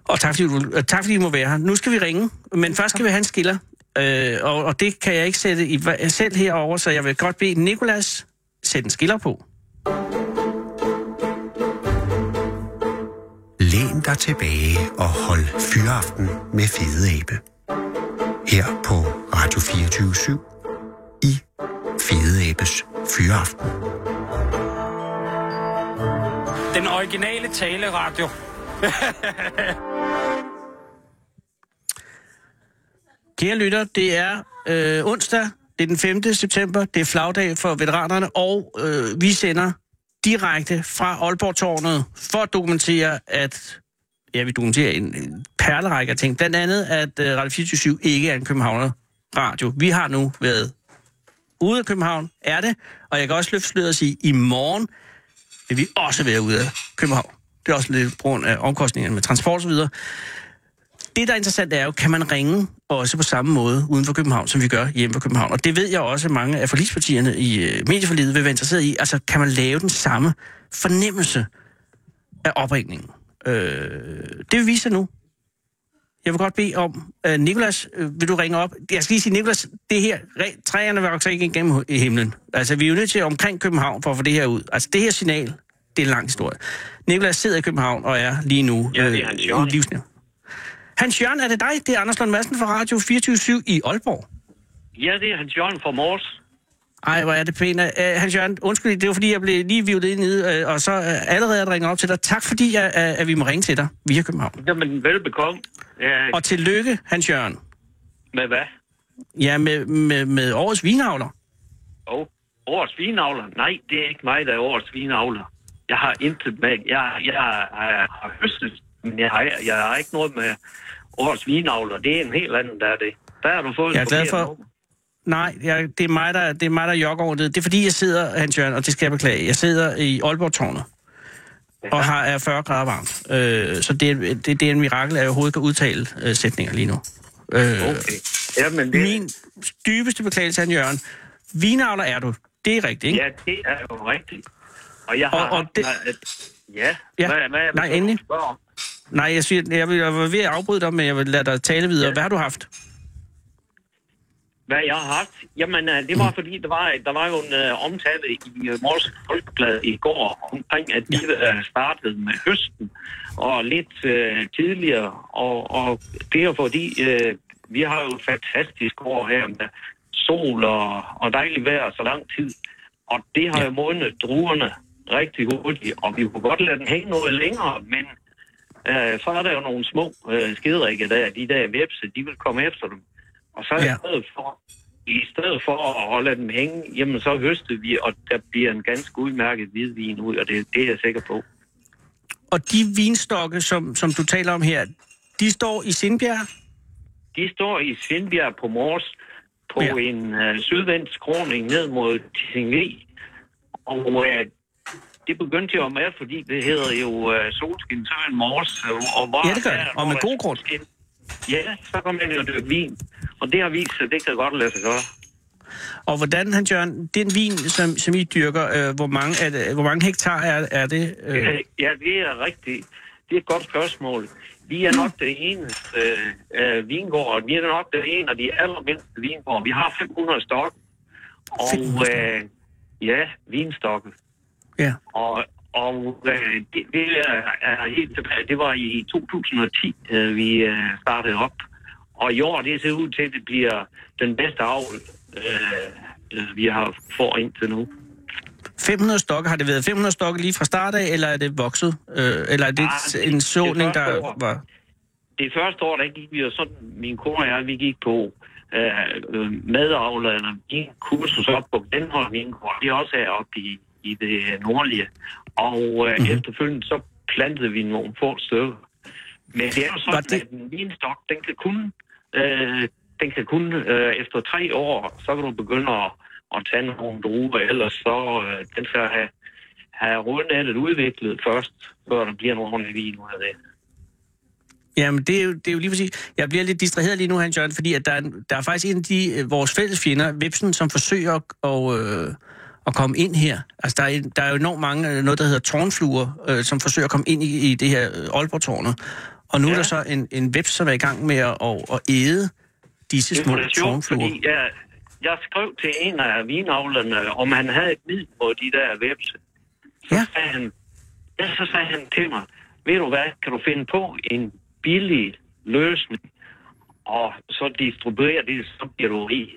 Speaker 3: Og tak fordi, du, øh, tak fordi I må være her. Nu skal vi ringe, men først skal vi have en skiller. Øh, og, og det kan jeg ikke sætte i, hva- selv herover, så jeg vil godt bede Nikolas sætte en skiller på.
Speaker 5: Læn dig tilbage og hold fyraften med Fede Abe. Her på Radio 24 i Fede Abes Fyraften.
Speaker 6: Den originale taleradio.
Speaker 3: Kære lytter, det er øh, onsdag, det er den 5. september, det er flagdag for veteranerne, og øh, vi sender direkte fra Aalborg-tårnet for at dokumentere, at ja, vi dokumenterer en, en perlerække af ting. Blandt andet, at øh, Radio 24 ikke er en københavner radio. Vi har nu været ude af København, er det, og jeg kan også løfte sløret og sige, at i morgen vil vi også være ude af København. Det er også lidt på grund af omkostningerne med transport og så videre det, der er interessant, er jo, kan man ringe også på samme måde uden for København, som vi gør hjemme for København? Og det ved jeg også, at mange af forligspartierne i øh, medieforliget vil være interesseret i. Altså, kan man lave den samme fornemmelse af opringningen? Øh, det vil vise sig nu. Jeg vil godt bede om, øh, Nikolas, øh, vil du ringe op? Jeg skal lige sige, Nikolas, det her, re- træerne vokser ikke igennem hu- i himlen. Altså, vi er jo nødt til omkring København for at få det her ud. Altså, det her signal, det er en lang historie. Nikolas sidder i København og er lige nu øh,
Speaker 6: Ja, det er Hans Jørgen.
Speaker 3: i livsnævn. Hans Jørgen, er det dig? Det er Anders Lund Madsen fra Radio 24 i Aalborg.
Speaker 6: Ja, det er Hans Jørgen fra Mors.
Speaker 3: Ej, hvor er det pænt. Uh, Hans Jørgen, undskyld, det var fordi, jeg blev lige vivlet ind i, uh, og så uh, allerede at ringe op til dig. Tak fordi, uh, at vi må ringe til dig via København.
Speaker 6: Jamen, velbekomme. Ja,
Speaker 3: Og tillykke, Hans Jørgen.
Speaker 6: med hvad?
Speaker 3: Ja, med, med, med årets vinavler.
Speaker 6: Åh, oh, årets vinavler? Nej, det er ikke mig, der er årets vinavler. Jeg har intet med... Jeg, jeg, jeg har høstet, men jeg har, jeg har ikke noget med årets vinavler, det er en helt anden, der er det. Der har du fået
Speaker 3: Jeg er
Speaker 6: et
Speaker 3: glad
Speaker 6: forkert
Speaker 3: for-
Speaker 6: nummer.
Speaker 3: Nej, jeg, det er mig, der, det er mig, der jokker over det. Det er fordi, jeg sidder, Hans Jørgen, og det skal jeg beklage, jeg sidder i Aalborg-tårnet og har er 40 grader varmt. Øh, så det, er- det, det er en mirakel, at jeg overhovedet kan udtale øh, sætninger lige nu. Øh,
Speaker 6: Okay. Jamen, det,
Speaker 3: Min dybeste beklagelse, Hans Jørgen. Vinavler er du. Det er rigtigt, ikke?
Speaker 6: Ja, det er jo rigtigt. Og jeg
Speaker 3: Og-
Speaker 6: har...
Speaker 3: og det-
Speaker 6: at- Ja,
Speaker 3: Ja.
Speaker 6: Hvad, hvad,
Speaker 3: Nej,
Speaker 6: hvad,
Speaker 3: endelig.
Speaker 6: Spørger. om?
Speaker 3: Nej, jeg, siger, jeg, vil, jeg var ved at afbryde dig, men jeg vil lade dig tale videre. Hvad har du haft?
Speaker 6: Hvad jeg har haft? Jamen, øh, det var fordi, der var, der var jo en uh, omtale i uh, Mors Folkeblad i går omkring, at vi uh, startede med høsten og lidt uh, tidligere. Og, og det er jo fordi, uh, vi har jo et fantastisk år her med sol og, og dejligt vejr så lang tid. Og det har jo modnet druerne rigtig hurtigt, og vi kunne godt lade den hænge noget længere, men øh, så er der jo nogle små øh, skiderikke der, de der vepse, de vil komme efter dem. Og så
Speaker 3: Ja.
Speaker 6: ja. i, stedet for, i stedet for at holde dem hænge, jamen så høstede vi, og der bliver en ganske udmærket hvidvin ud, og det, det er jeg sikker på.
Speaker 3: Og de vinstokke, som, som du taler om her, de står i Sindbjerg.
Speaker 6: De står i Svendbjerg på Mors på
Speaker 3: Ja.
Speaker 6: ja. en øh, sydvendt skråning ned mod Tingli. Og øh, det begyndte jeg jo med, fordi det hedder jo øh, Solskin Søren Mors. Øh, og var,
Speaker 3: Ja, det gør det, og med god grund.
Speaker 6: Ja, så kom man jo dyrke vin. Og det har vist sig, det kan godt lade sig gøre.
Speaker 3: Og hvordan, Hans Jørgen, den vin, som, som I dyrker, øh, hvor, mange er det, hvor mange hektar er, er det? Øh,
Speaker 6: Øh, Ja, det er rigtigt. Det er et godt spørgsmål. Vi er nok den eneste øh, øh, vingård, vi er nok den ene af de allermindste vingård. Vi har 500 stokke, og
Speaker 3: 500
Speaker 6: øh, ja, vinstokke.
Speaker 3: ja.
Speaker 6: Og, og øh, det, det er, er helt tilbage. Det var i 2010, øh, vi øh, startede op. Og i år, det ser ud til, at det bliver den bedste avl, øh, øh, vi har får indtil nu.
Speaker 3: 500 stokke, har det været 500 stokke lige fra start af, eller er det vokset? Øh, eller er det
Speaker 6: Ah,
Speaker 3: en
Speaker 6: det-
Speaker 3: såning,
Speaker 6: det er første
Speaker 3: der
Speaker 6: år.
Speaker 3: var...
Speaker 6: det første år, der gik vi jo sådan, min kone og jeg, vi gik på øh, øh, medavlerne, gik en kursus op på Glenholm Vingård, det er også heroppe i, i det nordlige. Og øh,
Speaker 3: Mhm.
Speaker 6: mm-hmm. efterfølgende så plantede vi nogle få stykker. Men det er jo
Speaker 3: Var
Speaker 6: sådan,
Speaker 3: det-
Speaker 6: det... at en vinstok, den kan kun, øh, den kan kun øh, efter tre år, så kan du begynde at, at tage nogle druer, ellers så øh, den skal have, have rundnettet udviklet først, før der bliver nogle ordentlig vin ud af det.
Speaker 3: Jamen, det er, jo, det er jo lige præcis... Jeg bliver lidt distraheret lige nu, Hans Jørgen, fordi at der, er, en- der er faktisk en af de, øh, vores fælles fjender, Vipsen, som forsøger at, og, øh, at komme ind her. Altså, der er, en- der er jo enormt mange, øh, noget der hedder tårnfluer, øh, som forsøger at komme ind i, i det her øh, Aalborg-tårnet. Og nu ja. er der så en, en veps, som er i gang med at, at, at æde disse
Speaker 6: Det var
Speaker 3: små
Speaker 6: da sjovt,
Speaker 3: tårnfluer.
Speaker 6: fordi jeg, jeg skrev til en af vinavlerne, om han havde et middel på de der vepse. Så,
Speaker 3: Ja.
Speaker 6: ja. sagde han, ja, så sagde han til mig, ved du hvad, kan du finde på en billig løsning, og så distribuere det, så bliver du rig.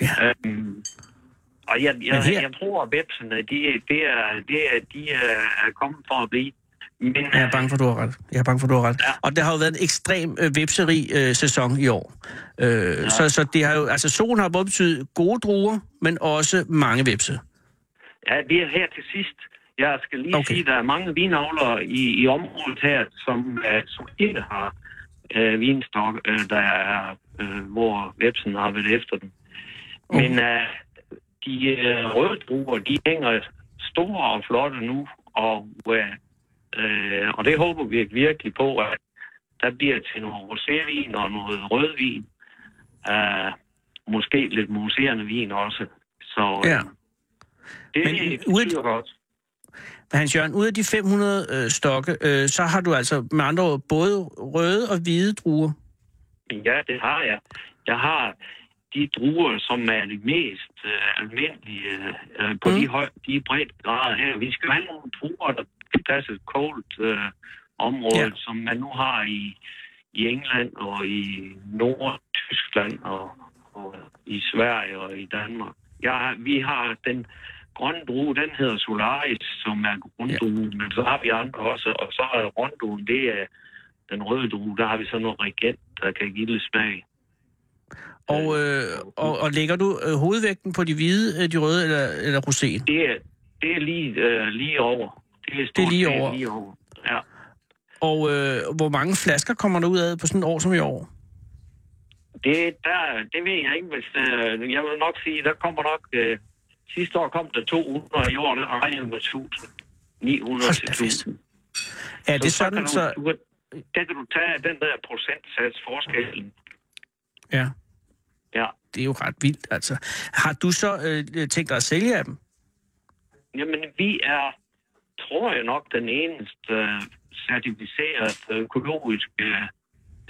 Speaker 3: Ja.
Speaker 6: Øhm, og jeg, jeg,
Speaker 3: her-
Speaker 6: her... jeg tror, at vepsene, de, de, er, de, er, de er kommet for at blive. Men,
Speaker 3: Jeg er bange for, du har ret. Jeg er bange for, du har ret. Ja.
Speaker 6: Ja.
Speaker 3: Og det har jo været en ekstrem øh, vipserig øh, sæson i år. Øh, ja. så, så det har jo... Altså, solen har både betydet gode druer, men også mange vipse.
Speaker 6: Ja, det er her til sidst. Jeg skal lige
Speaker 3: Okay.
Speaker 6: okay. sige, at der er mange vinavlere i, i området her, som, uh, som ikke har uh, vinstok, uh, der er, uh, hvor vepsen har været efter dem. Men uh, de uh, røde druer, de hænger store og flotte nu, og, uh, uh, og det håber vi virkelig på, at der bliver til noget rosévin og noget rødvin. Uh, måske lidt mousserende vin også. Så, øh,
Speaker 3: Ja.
Speaker 6: det
Speaker 3: Men
Speaker 6: Men,
Speaker 3: ude-
Speaker 6: betyder godt.
Speaker 3: Hans Jørgen, ud af de 500 øh, stokke, øh, så har du altså med andre ord både røde og hvide druer.
Speaker 6: Ja, det har jeg. Jeg har de druer, som er de mest øh, almindelige øh, på
Speaker 3: Mm.
Speaker 6: mm. de, høj, de brede grader her. Vi skal have nogle druer, der passer et koldt øh, område,
Speaker 3: Ja.
Speaker 6: ja. som man nu har i, i England og i Nord-Tyskland og, og i Sverige og i Danmark. Jeg, har- vi har den grønne drue, den hedder Solaris, som er grunddruen, ja. men så har vi andre også, og så er runddruen, det er den røde drue, der har vi så noget regent, der kan give lidt smag.
Speaker 3: Og, øh, og, og lægger du øh, hovedvægten på de hvide, øh, de røde eller, eller roséen?
Speaker 6: Det er, det er lige, øh, lige over. Det er, stort
Speaker 3: Det er lige
Speaker 6: set
Speaker 3: over.
Speaker 6: lige over. Ja.
Speaker 3: Og øh, hvor mange flasker kommer der ud af på sådan et år som i år?
Speaker 6: Det, der, det ved jeg ikke. Hvis, øh, jeg vil nok sige, der kommer nok... Øh, sidste år kom der 200, i år der regner jeg med 1000. 900
Speaker 3: Hold
Speaker 6: til
Speaker 3: da fest.
Speaker 6: 1000.
Speaker 3: Er det
Speaker 6: kan
Speaker 3: sådan,
Speaker 6: du,
Speaker 3: så...
Speaker 6: Du, kan- der kan du tage den der procentsats forskellen.
Speaker 3: Ja,
Speaker 6: Ja.
Speaker 3: det er jo ret vildt, altså. Har du så øh, tænkt dig at sælge af dem?
Speaker 6: Jamen, vi er, tror jeg nok, den eneste øh, certificeret økologiske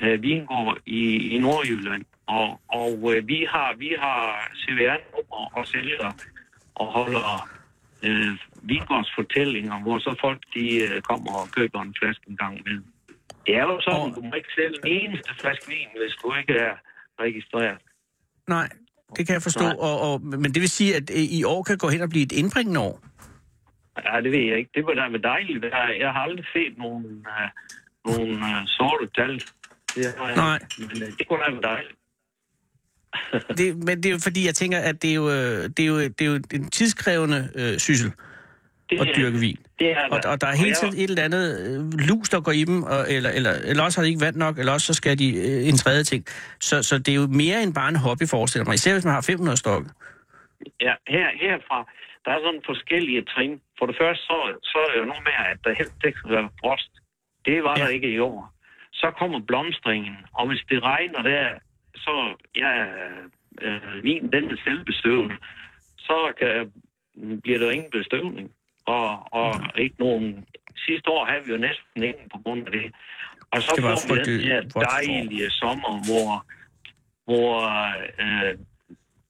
Speaker 6: øh, vingård i, i Nordjylland. Og, og øh, vi har, vi har CVR-nummer og sælger og holder øh, vingårdsfortællinger, hvor så folk de øh, kommer og køber en flaske en gang imellem. Det er jo sådan,
Speaker 3: Og-
Speaker 6: du må ikke sælge en eneste flaske vin, hvis du ikke er registreret.
Speaker 3: Nej, det kan jeg forstå.
Speaker 6: Nej.
Speaker 3: Og, og, men det vil sige, at øh, i år kan gå hen og blive et indbringende [laughs] år?
Speaker 6: Ja, det ved jeg ikke. Det var da med dejligt. Jeg- Jeg har aldrig set nogen, uh, nogen uh, sorte tal. Det har jeg.
Speaker 3: Nej.
Speaker 6: Men uh, det kunne da være dejligt.
Speaker 3: Det, men det er jo fordi, jeg tænker, at det er jo, øh, det er jo, det er jo en tidskrævende øh, syssel
Speaker 6: Det,
Speaker 3: at dyrke vin.
Speaker 6: Det er
Speaker 3: Og, og der er hele tiden et eller andet øh, lus, der går i dem, og, eller, eller, eller også har de ikke vand nok, eller også så skal de øh, en tredje ting. Så, så det er jo mere end bare en hobby, forestiller jeg mig. Især hvis man har 500 stokke.
Speaker 6: Ja, her, herfra, der er sådan forskellige trin. For det første, så, så er det jo noget med, at der helst ikke skal være frost. Det var
Speaker 3: Ja.
Speaker 6: ja. der ikke i år. Så kommer blomstringen, og hvis det regner der, så ja, øh, vin, den er selvbestøvende. Så kan, bliver der ingen bestøvning. Og, og ikke nogen... Sidste år havde vi jo næsten ingen på grund af det. Og så
Speaker 3: Det var
Speaker 6: får vi den
Speaker 3: frygteligt
Speaker 6: her
Speaker 3: vådt forår.
Speaker 6: dejlige sommer, hvor, hvor øh,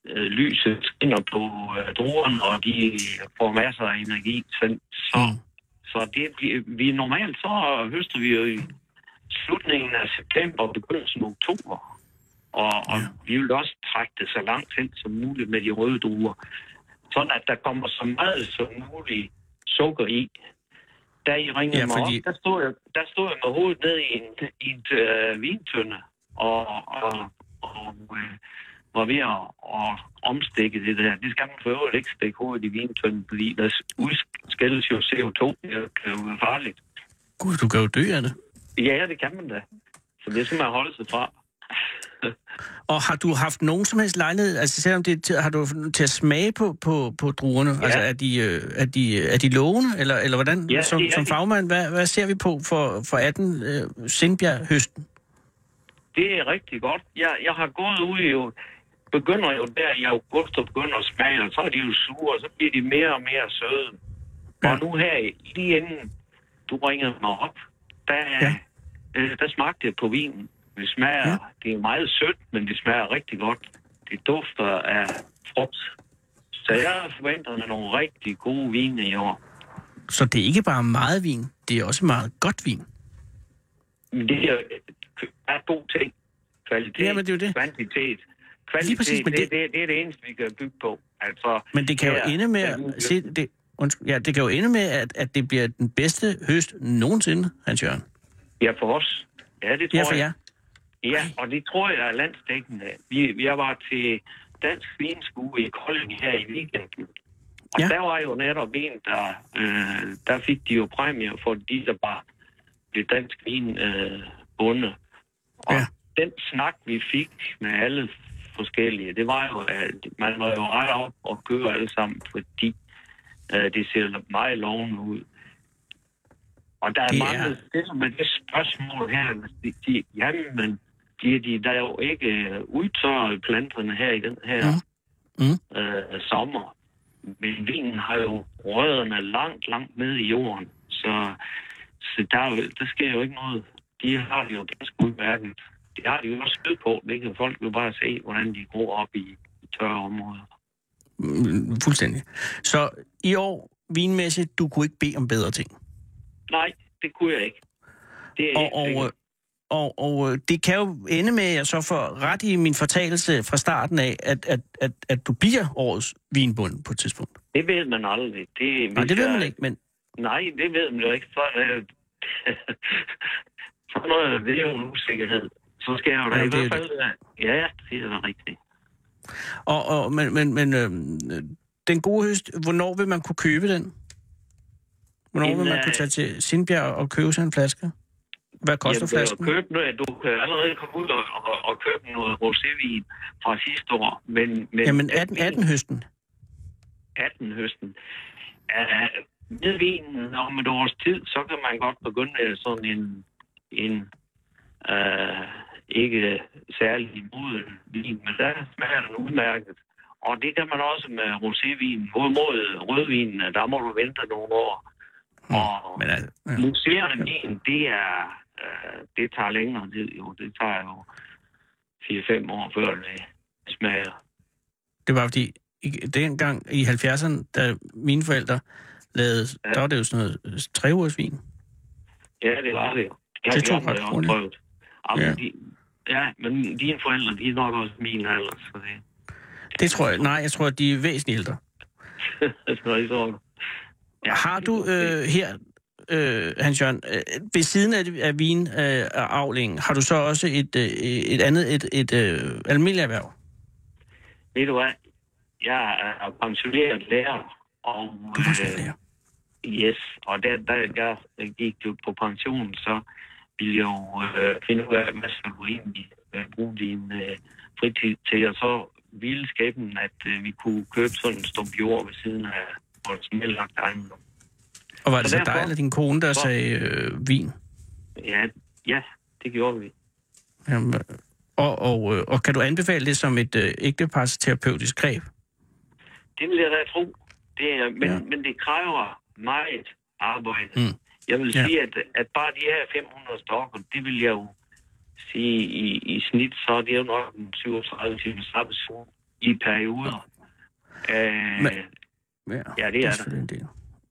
Speaker 6: øh, lyset skinner på øh, druerne, og de får masser af energi. Så, så,
Speaker 3: Mm.
Speaker 6: mm. så det bliver, vi normalt så høster vi jo i slutningen af september og begyndelsen af oktober. Og, og ja. vi vil også trække det så langt hen som muligt med de røde druer, sådan at der kommer så meget som muligt sukker i. Da I ringede
Speaker 3: Ja,
Speaker 6: ja, fordi...
Speaker 3: fordi-
Speaker 6: mig op, der stod, jeg, der stod jeg med hovedet ned i en, i en øh, vintønde og, og, og øh, var ved at, at omstikke det der. Det skal man for øvrigt ikke stikke hovedet i vintønden, fordi der udskældes jo CO2. Det kan jo være farligt.
Speaker 3: Gud, du kan jo dø af det.
Speaker 6: Ja, det kan man da. Så det skal man holde sig fra.
Speaker 3: Og har du haft nogen som helst lejlighed, altså selvom det er til- har du haft nogen til at smage på, på, på druerne? Ja. Altså er de, øh, er, de, er de lovende, eller, eller hvordan,
Speaker 6: Ja,
Speaker 3: ja, som,
Speaker 6: det er
Speaker 3: som
Speaker 6: de.
Speaker 3: fagmand, hvad, hvad ser vi på for, for 18 øh, Sindbjerg høsten?
Speaker 6: Det er rigtig godt. Jeg, jeg har gået ud jo, begynder jo der i august og begynder at smage, og så er de jo sure, og så bliver de mere og mere søde. Ja. Og nu her, i- lige inden du ringede mig op, der,
Speaker 3: Ja.
Speaker 6: ja. øh, der smagte jeg på vinen. Det smager,
Speaker 3: Ja.
Speaker 6: ja. det er meget sødt, men det smager rigtig godt. Det dufter af frugt. Så jeg forventer mig nogle rigtig gode vine i år.
Speaker 3: Så det er ikke bare meget vin, det er også meget godt vin.
Speaker 6: Men det er, er god ting. Kvalitet,
Speaker 3: Jamen, det er jo det.
Speaker 6: kvantitet. Kvalitet,
Speaker 3: Lige præcis, men
Speaker 6: det,
Speaker 3: det-
Speaker 6: det, det, det er det eneste, vi kan bygge på. Altså,
Speaker 3: Men det kan jo
Speaker 6: her-
Speaker 3: ende med, at, se, det, undskyld, ja, det kan jo ende med at, at det bliver den bedste høst nogensinde, Hans Jørgen.
Speaker 6: Ja, for os. Ja, det tror
Speaker 3: Ja, for
Speaker 6: jeg.
Speaker 3: jer.
Speaker 6: Ja, og det tror jeg er landsdækkende. Vi, jeg var til Dansk Vinskue i Kolding her i weekenden. Og
Speaker 3: Ja.
Speaker 6: ja. der var jo netop en, der, øh, der fik de jo præmier for de, der bare blev dansk vin øh, bunde. Og
Speaker 3: Ja.
Speaker 6: ja. den snak, vi fik med alle forskellige, det var jo, at man var jo ret op og køre alle sammen, fordi øh, det ser meget lovende ud. Og der er
Speaker 3: Det
Speaker 6: mange,
Speaker 3: er-
Speaker 6: der stiller med det spørgsmål her, hvis de, de, jamen, bliver de der jo ikke øh, udtørret planterne her i den her
Speaker 3: Mm.
Speaker 6: mm. Øh, sommer. Men vinen har jo rødderne langt, langt ned i jorden, så, så der, er jo- der sker jo ikke noget. De har det jo ganske udmærket. Det har de jo også skød på. Det kan folk jo bare se, hvordan de gror op i, i tørre områder.
Speaker 3: Mm, Fuldstændig. Så i år, vinmæssigt, du kunne ikke bede om bedre ting.
Speaker 6: Nej, det kunne jeg ikke. Det er
Speaker 3: Og,
Speaker 6: helt
Speaker 3: og,
Speaker 6: sikkert.
Speaker 3: øh, og, og øh, det kan jo ende med, at jeg så får ret i min fortalelse fra starten af, at, at, at, at du bliver årets vinbund på et tidspunkt.
Speaker 6: Det ved man aldrig. Det,
Speaker 3: Nej, det ved man ikke, men
Speaker 6: Nej, det ved man jo ikke. Så, øh, [laughs] så noget, det er jo en usikkerhed. Så skal jeg jo da
Speaker 3: Ja,
Speaker 6: i
Speaker 3: det er
Speaker 6: hvert
Speaker 3: jo
Speaker 6: fald... Ja, ja, det er da rigtigt.
Speaker 3: Og, og, men, men, men øh, den gode høst, hvornår vil man kunne købe den? Hvornår
Speaker 6: Den
Speaker 3: vil man
Speaker 6: er-
Speaker 3: kunne tage til Sindbjerg og købe sig en flaske? Hvad koster
Speaker 6: Jamen,
Speaker 3: flasken?
Speaker 6: Køb noget, du kan allerede komme ud og, og, og købe noget rosévin fra sidste år. Men, men
Speaker 3: Jamen 18, 18 høsten.
Speaker 6: 18 høsten. Uh, med vinen om et års tid, så kan man godt begynde sådan en, en uh, ikke særlig moden vin, men der smager den udmærket. Og det kan man også med rosévin. Hvorimod rødvinen, der må du vente nogle år. Og
Speaker 3: Men, altså, ja.
Speaker 6: museerne vin, det er, øh, det tager længere tid jo. Det tager jo 4-5 år, før det smager.
Speaker 3: Det var fordi, i, dengang i 70'erne, da mine forældre lavede, der var det jo sådan noget øh, tre ugers vin.
Speaker 6: Ja, det var det jo. Jeg
Speaker 3: Det tog
Speaker 6: har
Speaker 3: ret
Speaker 6: også
Speaker 3: hurtigt.
Speaker 6: prøvet. Jamen,
Speaker 3: Ja.
Speaker 6: ja. De, ja, men dine forældre, de er nok også mine alder, så det, [laughs]
Speaker 3: Det tror jeg, nej, jeg tror, at de er væsentligt ældre.
Speaker 6: så det så.
Speaker 3: Ja, har du øh, her, øh, Hans Jørgen, øh, ved siden af, af vinavlingen, øh, og avlingen, har du så også et, øh, et andet, et, et øh, almindeligt erhverv?
Speaker 6: Ved du hvad? Jeg er pensioneret lærer, og øh,
Speaker 3: Du er faktisk lærer.
Speaker 6: Yes, og da, da jeg gik jo på pension, så ville jeg jo øh, finde ud af, hvad skal du egentlig øh, bruge din øh, fritid til. Og så ville skæbnen, at øh, vi kunne købe sådan en stump jord ved siden af vores nedlagte ejendom.
Speaker 3: Og var det
Speaker 6: Så
Speaker 3: så
Speaker 6: derfor-
Speaker 3: dig eller din kone, der
Speaker 6: for-
Speaker 3: sagde øh, vin?
Speaker 6: Ja, ja, det gjorde vi.
Speaker 3: Jamen, øh, og, og, øh, og kan du anbefale det som et øh, ægtepars terapeutisk greb?
Speaker 6: Det vil jeg da tro. Det er, men,
Speaker 3: Ja.
Speaker 6: ja. men det kræver meget arbejde.
Speaker 3: Mm.
Speaker 6: Mm. Jeg vil
Speaker 3: Ja.
Speaker 6: ja. sige, at, at bare de her 500 stokker, det vil jeg jo sige i, i snit, så er det jo nok en 37 timers arbejdsuge i perioder. Øh,
Speaker 3: Men-
Speaker 6: men,
Speaker 3: Ja,
Speaker 6: er
Speaker 3: det er
Speaker 6: der.
Speaker 3: selvfølgelig en del.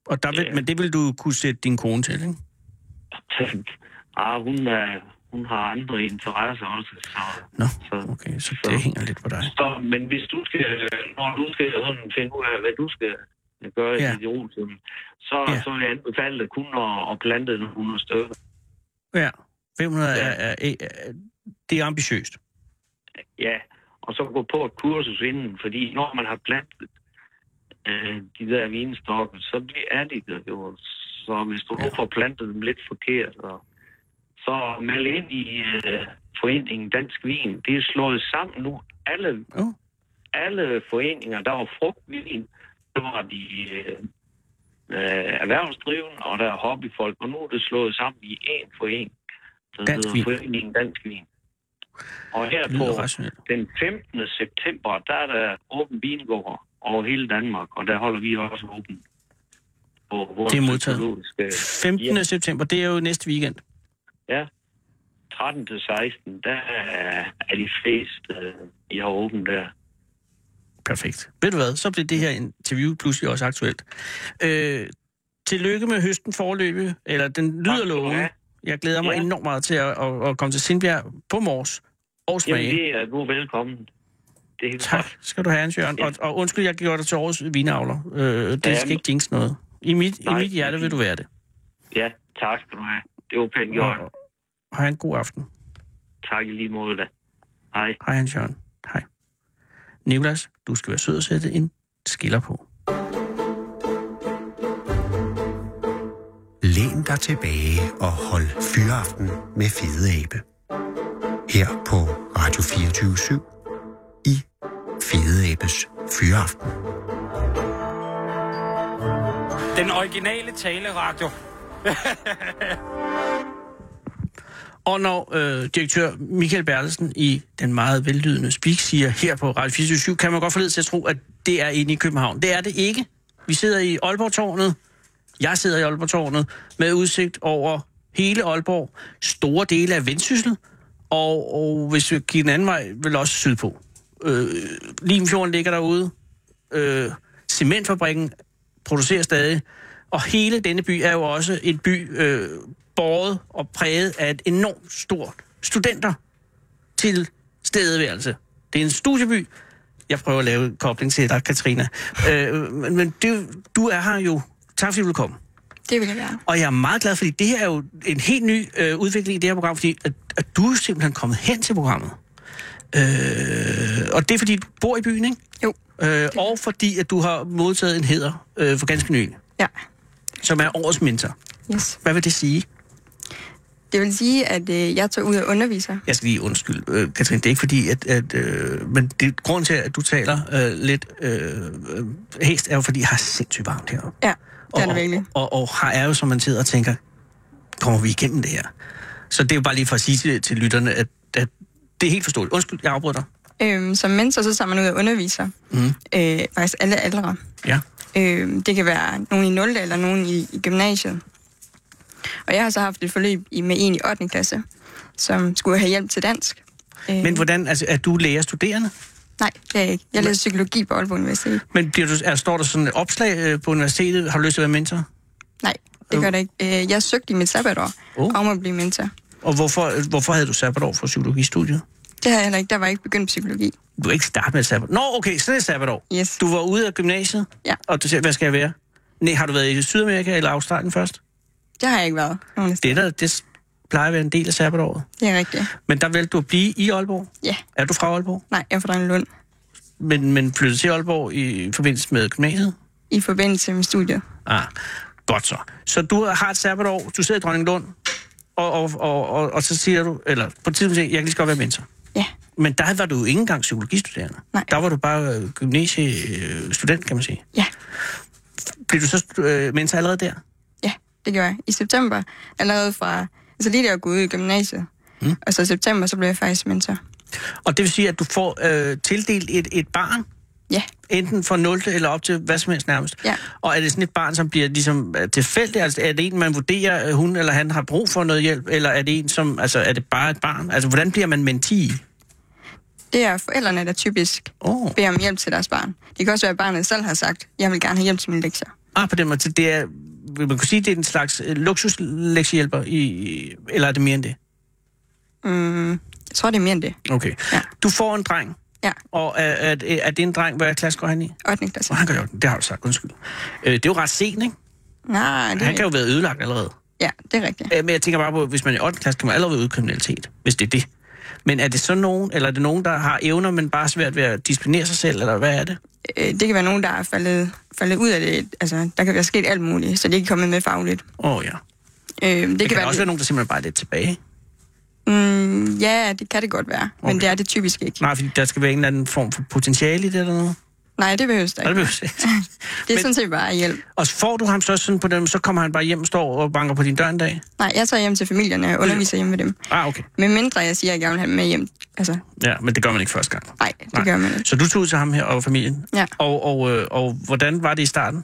Speaker 3: Og der vil,
Speaker 6: Ja.
Speaker 3: Men det vil du kunne sætte din kone til, ikke?
Speaker 6: [laughs] ah, hun, er, hun har andre interesser også. Så,
Speaker 3: Nå,
Speaker 6: Mm. så,
Speaker 3: okay, så det hænger lidt på dig.
Speaker 6: så, men hvis du skal, når du skal sådan finde ud af, hvad du skal gøre
Speaker 3: Ja.
Speaker 6: ja. i dit otium, så,
Speaker 3: Ja.
Speaker 6: ja. så vil jeg anbefale dig kun at, at plante nogle 100 stykker.
Speaker 3: Ja, 500
Speaker 6: Ja.
Speaker 3: er, er, er, er, det er ambitiøst.
Speaker 6: Ja, og så gå på et kursus inden, fordi når man har plantet øh, de der vinstokke, så bliver er de der jo. Så hvis du nu får plantet dem lidt forkert, og, så meld ind i øh, foreningen Dansk Vin. Det er slået sammen nu. Alle,
Speaker 3: Oh.
Speaker 6: alle foreninger, der var frugtvin, der var de øh, øh, erhvervsdrivende, og der er hobbyfolk, og nu er det slået sammen i én forening, der
Speaker 3: Dansk
Speaker 6: hedder
Speaker 3: Vin.
Speaker 6: Foreningen Dansk Vin. Og her
Speaker 3: Det lyder
Speaker 6: på
Speaker 3: rationelt.
Speaker 6: den 15. september, der er der åben vingård over hele Danmark, og der holder vi også åben. På vores
Speaker 3: Det er modtaget.
Speaker 6: økologiske-
Speaker 3: 15. Ja. september, det er jo næste weekend.
Speaker 6: Ja. 13 til 16, der er er de fleste, øh, I har åbent der.
Speaker 3: Perfekt. Ved du hvad, så blev det her interview pludselig også aktuelt. Øh, tillykke med høsten forløbe, eller den
Speaker 6: Tak
Speaker 3: lyder
Speaker 6: skal du
Speaker 3: lovende.
Speaker 6: have.
Speaker 3: Jeg glæder mig ja.
Speaker 6: Ja.
Speaker 3: enormt meget til at, at, at komme til Sindbjerg på mors og smage.
Speaker 6: Jamen, det er du er velkommen. Det er helt
Speaker 3: Tak skal du have, Hans Jørgen. Ja.
Speaker 6: Ja.
Speaker 3: Og, og undskyld, jeg gjorde dig til årets vinavler. Øh, det
Speaker 6: Ja,
Speaker 3: skal
Speaker 6: men-
Speaker 3: ikke jinx noget. I mit,
Speaker 6: Nej,
Speaker 3: I mit hjerte vil du være det.
Speaker 6: godt. Ja, tak skal du have. Det var pænt gjort.
Speaker 3: Og, og have en god aften.
Speaker 6: Tak i lige måde da. Hej.
Speaker 3: Hej, Hans Jørgen. Hej. Niklas, du skal være sød og sætte en skiller på.
Speaker 5: Læn dig tilbage og hold fyraften med Fede Abe. Her på Radio 24 i Fede Abes Fyraften.
Speaker 7: Den originale taleradio.
Speaker 3: Og når øh, direktør Michael Bertelsen i den meget vellydende speak siger her på Radio 24 kan man godt forlede til at tro, at det er inde i København. Det er det ikke. Vi sidder i Aalborg-tårnet. Jeg sidder i Aalborg-tårnet med udsigt over hele Aalborg, store dele af Vendsyssel, og, og hvis vi gik den anden vej, vel også sydpå. Øh, Limfjorden ligger derude. Øh, cementfabrikken producerer stadig. Og hele denne by er jo også en by øh, båret og præget af et enormt stort studenter til stedeværelse. Det er en studieby. Jeg prøver at lave en kobling til dig, Katrina. Øh, men men det, du er her jo. Tak fordi du vil komme.
Speaker 8: Det vil jeg gerne.
Speaker 3: Og jeg er meget glad, fordi det her er jo en helt ny øh, udvikling i det her program, fordi at, at du er simpelthen kommet hen til programmet. Øh, og det er fordi, du bor i byen, ikke?
Speaker 8: Jo.
Speaker 3: Øh, og fordi, at du har modtaget en heder øh, for ganske nylig,
Speaker 8: Ja.
Speaker 3: som er årets mentor.
Speaker 8: Yes.
Speaker 3: Hvad vil det sige?
Speaker 8: Det vil sige, at øh, jeg tager ud og underviser.
Speaker 3: Jeg skal lige undskylde, øh, Katrine, det er ikke fordi, at... at øh, men det er grunden til, at du taler øh, lidt øh, øh, hæst, er jo fordi, jeg har sindssygt varmt heroppe.
Speaker 8: Ja, det er det
Speaker 3: og,
Speaker 8: virkelig.
Speaker 3: Og, og, og har er jo, som man sidder og tænker, kommer vi igennem det her? Så det er jo bare lige for at sige til, til lytterne, at, at det er helt forståeligt. Undskyld, jeg afbryder dig.
Speaker 8: Øhm, som mentor, så tager man ud og underviser. Mm. Øh, faktisk alle aldre.
Speaker 3: Ja.
Speaker 8: Øh, det kan være nogen i 0. eller nogen i, i gymnasiet. Og jeg har så haft et forløb i, med en i 8. klasse, som skulle have hjælp til dansk. Øh,
Speaker 3: Men hvordan, altså, er du lærer studerende?
Speaker 8: Nej, det er jeg ikke. Jeg læser psykologi på Aalborg Universitet.
Speaker 3: Men bliver du, er, står der sådan et opslag øh, på universitetet, har du lyst til at være mentor?
Speaker 8: Nej, det gør det ikke. Øh, jeg søgte i mit sabbatår
Speaker 3: Oh.
Speaker 8: oh. om at blive mentor.
Speaker 3: Og hvorfor, øh, hvorfor havde du sabbatår for psykologistudiet?
Speaker 8: Det har jeg heller ikke. Der var jeg ikke begyndt psykologi.
Speaker 3: Du kan ikke starte med et sabbat. Nå, okay, så det er sabbatår.
Speaker 8: Yes.
Speaker 3: Du var ude af gymnasiet,
Speaker 8: Ja.
Speaker 3: og du siger, hvad skal jeg være? Nej, har du været i Sydamerika eller Australien først?
Speaker 8: Det har jeg ikke været. Nogen
Speaker 3: Det,
Speaker 8: det.
Speaker 3: er der, det plejer at være en del af sabbatåret.
Speaker 8: det er rigtigt.
Speaker 3: Men der valgte du at blive i Aalborg.
Speaker 8: Ja.
Speaker 3: Er du fra Aalborg?
Speaker 8: Nej, jeg er fra Lund
Speaker 3: Men, men flyttede til Aalborg i forbindelse med gymnasiet?
Speaker 8: i forbindelse med studiet.
Speaker 3: Ah, godt så. Så du har et sabbatår, du sidder i Dronninglund, og, og, og, og, og så siger du, eller på et tidspunkt siger, jeg, jeg kan lige så godt være mentor.
Speaker 8: Ja,
Speaker 3: Men der var du jo ikke engang psykologistuderende.
Speaker 8: Nej.
Speaker 3: Der var du bare øh, gymnasiestudent, kan man sige.
Speaker 8: ja,
Speaker 3: Blev du så øh, mentor allerede der?
Speaker 8: ja, det gjorde jeg. I september, allerede fra... Altså lige da jeg gik ud i gymnasiet. Mm. Og så i september, så blev jeg faktisk mentor.
Speaker 3: Og det vil sige, at du får øh, tildelt et, et barn,
Speaker 8: Ja,
Speaker 3: enten fra 0. eller op til hvad som helst nærmest.
Speaker 8: Ja.
Speaker 3: Og er det sådan et barn, som bliver ligesom øh, tilfældigt? Altså, er det en, man vurderer, øh, hun eller han har brug for noget hjælp? Eller er det en, som... Altså, er det bare et barn? Altså, hvordan bliver man menti?
Speaker 8: det er forældrene, der typisk
Speaker 3: Åh.
Speaker 8: beder om hjælp til deres barn. Det kan også være, at barnet selv har sagt, jeg vil gerne have hjælp til mine lektier.
Speaker 3: Ah, på den måde. Så det er... Vil man kunne sige, at det er en slags øh, luksuslektiehjælper? I, eller er det mere end det?
Speaker 8: Mm, jeg tror, det er mere end det.
Speaker 3: Okay.
Speaker 8: Ja.
Speaker 3: Du får en dreng.
Speaker 8: Ja,
Speaker 3: Og er, er, det- er det en dreng, hvad klasse går han i?
Speaker 8: 8. klasse.
Speaker 3: Og han går i orden. Det har du sagt, undskyld. Øh, det er jo ret sent, ikke?
Speaker 8: Nej, det,
Speaker 3: Han kan jo være ødelagt allerede.
Speaker 8: ja, det er rigtigt.
Speaker 3: Øh, men jeg tænker bare på, hvis man er i 8. klasse, kan man allerede udøve kriminalitet, hvis det er det. Men er det så nogen, eller er det nogen, der har evner, men bare svært ved at disciplinere sig selv, eller hvad er det?
Speaker 8: Øh, det kan være nogen, der er faldet, faldet ud af det. Altså, der kan være sket alt muligt, så det ikke er kommet med fagligt.
Speaker 3: Åh oh, ja.
Speaker 8: Øh, det,
Speaker 3: Det kan,
Speaker 8: være
Speaker 3: kan også være nogen, der simpelthen bare er lidt tilbage.
Speaker 8: Mm, ja, det kan det godt være, okay.
Speaker 3: Okay.
Speaker 8: men det er det typisk ikke.
Speaker 3: Nej, fordi der skal være en eller anden form for potentiale i det eller noget.
Speaker 8: Nej, det behøves der
Speaker 3: Og, det
Speaker 8: ikke.
Speaker 3: behøver jeg ikke.
Speaker 8: Det er
Speaker 3: Men-
Speaker 8: sådan set bare hjælp.
Speaker 3: og så får du ham så sådan på dem, så kommer han bare hjem, står og banker på din dør en dag.
Speaker 8: Nej, jeg tager hjem til familierne og underviser hjemme ved dem.
Speaker 3: Ah, okay.
Speaker 8: Men mindre jeg siger, at jeg vil have dem med hjem. Altså,
Speaker 3: Ja, men det gør man ikke første gang.
Speaker 8: nej, det nej. gør man ikke.
Speaker 3: Så du tog ud til ham her og familien?
Speaker 8: Ja.
Speaker 3: Og, og, øh, og hvordan var det i starten?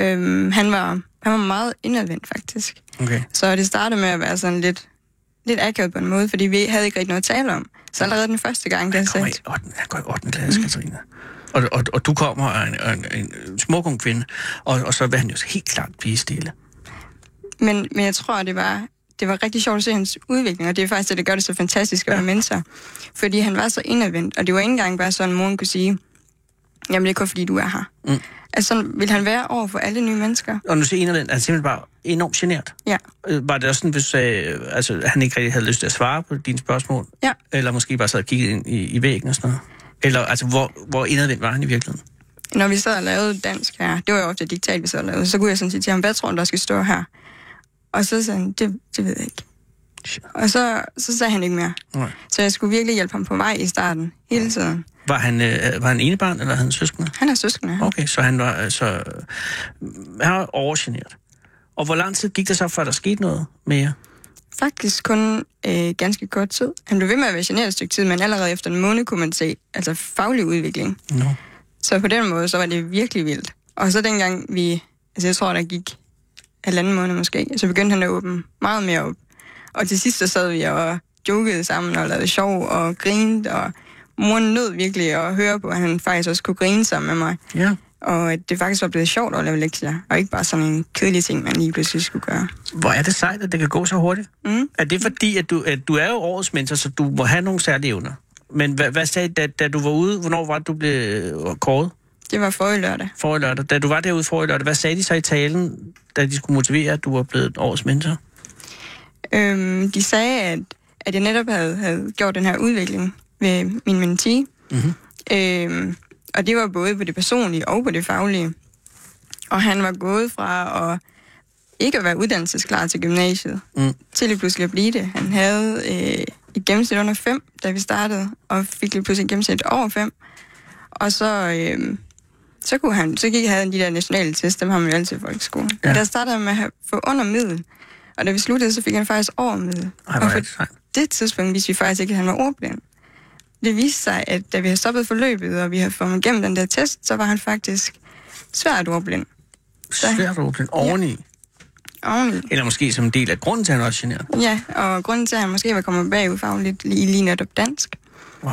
Speaker 8: Øhm, han, var, han var meget indadvendt, faktisk.
Speaker 3: Okay.
Speaker 8: Så det startede med at være sådan lidt, lidt akavet på en måde, fordi vi havde ikke rigtig noget at tale om. Så allerede den første gang, der
Speaker 3: Kommer
Speaker 8: sagde,
Speaker 3: i 8. Jeg går i 8. klasse, mm. Katrine. Og, og, og du kommer og er en, og en, en smuk ung kvinde, og, og så vil han jo helt klart blive stille.
Speaker 8: Men, men jeg tror, det var, det var rigtig sjovt at se hans udvikling, og det er faktisk det, der gør det så fantastisk at være mentor. Fordi han var så indadvendt, og det var ikke engang bare sådan, at moren kunne sige, jamen det er kun fordi, du er her. Mm. Altså sådan ville han være over for alle nye mennesker.
Speaker 3: Og nu ser en af den, han er simpelthen bare enormt genert.
Speaker 8: Ja,
Speaker 3: Øh, Var det også sådan, hvis du sagde, øh, altså, han ikke rigtig havde lyst til at svare på dine spørgsmål?
Speaker 8: Ja.
Speaker 3: Eller måske bare sad og kiggede ind i, i væggen og sådan noget? Eller altså, hvor, hvor indadvendt var han i virkeligheden?
Speaker 8: når vi sad og lavede dansk her, det var jo ofte et diktat, vi sad og lavede, så kunne jeg sådan sige til ham, hvad tror du, der skal stå her? Og så sagde han, det, det ved jeg ikke.
Speaker 3: Shit.
Speaker 8: Og så, så sagde han ikke mere.
Speaker 3: Nej.
Speaker 8: Så jeg skulle virkelig hjælpe ham på vej i starten, hele tiden.
Speaker 3: Var han, øh, var han enebarn, eller havde han søskende?
Speaker 8: Han er søskende.
Speaker 3: Okay, så han var altså... Han var overgeneret. Og hvor lang tid gik det så, før der skete noget mere?
Speaker 8: Faktisk kun øh, ganske kort tid. Han blev ved med at være generet et stykke tid, men allerede efter en måned kunne man se altså faglig udvikling.
Speaker 3: No.
Speaker 8: Så på den måde, så var det virkelig vildt. Og så dengang vi, altså jeg tror, der gik halvanden måned måske, så begyndte han at åbne meget mere op. Og til sidst så sad vi og jokede sammen og lavede sjov og grinede, og moren nød virkelig at høre på, at han faktisk også kunne grine sammen med mig.
Speaker 3: Ja.
Speaker 8: Og at det faktisk var blevet sjovt at lave lektier, og ikke bare sådan en kedelig ting, man lige pludselig skulle gøre.
Speaker 3: Hvor er det sejt, at det kan gå så hurtigt? Mm. Er det fordi, at du, at du er jo årets mentor, så du må have nogle særlige evner? Men hvad, hvad sagde da, da du var ude? Hvornår var det, du blev øh, kåret
Speaker 8: Det var forrige lørdag.
Speaker 3: for i lørdag? Da du var derude for i lørdag, hvad sagde de så i talen, da de skulle motivere, at du var blevet årets mentor?
Speaker 8: Øhm, de sagde, at, at jeg netop havde, havde gjort den her udvikling ved min mentee. Mm-hmm. Øhm, og det var både på det personlige og på det faglige. Og han var gået fra at ikke at være uddannelsesklar til gymnasiet,
Speaker 3: Mm.
Speaker 8: til lige pludselig at blive det. Han havde øh, et gennemsnit under 5, da vi startede, og fik lige pludselig et gennemsnit over 5. Og så, øh, så, kunne han, så gik, havde han de der nationale test, dem har man jo altid i folkeskolen.
Speaker 3: Ja.
Speaker 8: Ja. Der startede han med at have- få under middel, og da vi sluttede, så fik han faktisk over middel.
Speaker 3: Ej, hvor
Speaker 8: og på
Speaker 3: er det sejt.
Speaker 8: det tidspunkt vidste vi faktisk ikke, at han var ordblind. Det viste sig, at da vi havde stoppet forløbet, og vi havde fået ham igennem den der test, så var han faktisk svært ordblind
Speaker 3: Svært ordblind oveni.
Speaker 8: oveni.
Speaker 3: Eller måske som en del af grunden til, at han også er generet.
Speaker 8: Ja, og grunden til, at han måske var kommet bagud fagligt lige, lige netop dansk.
Speaker 3: Wow.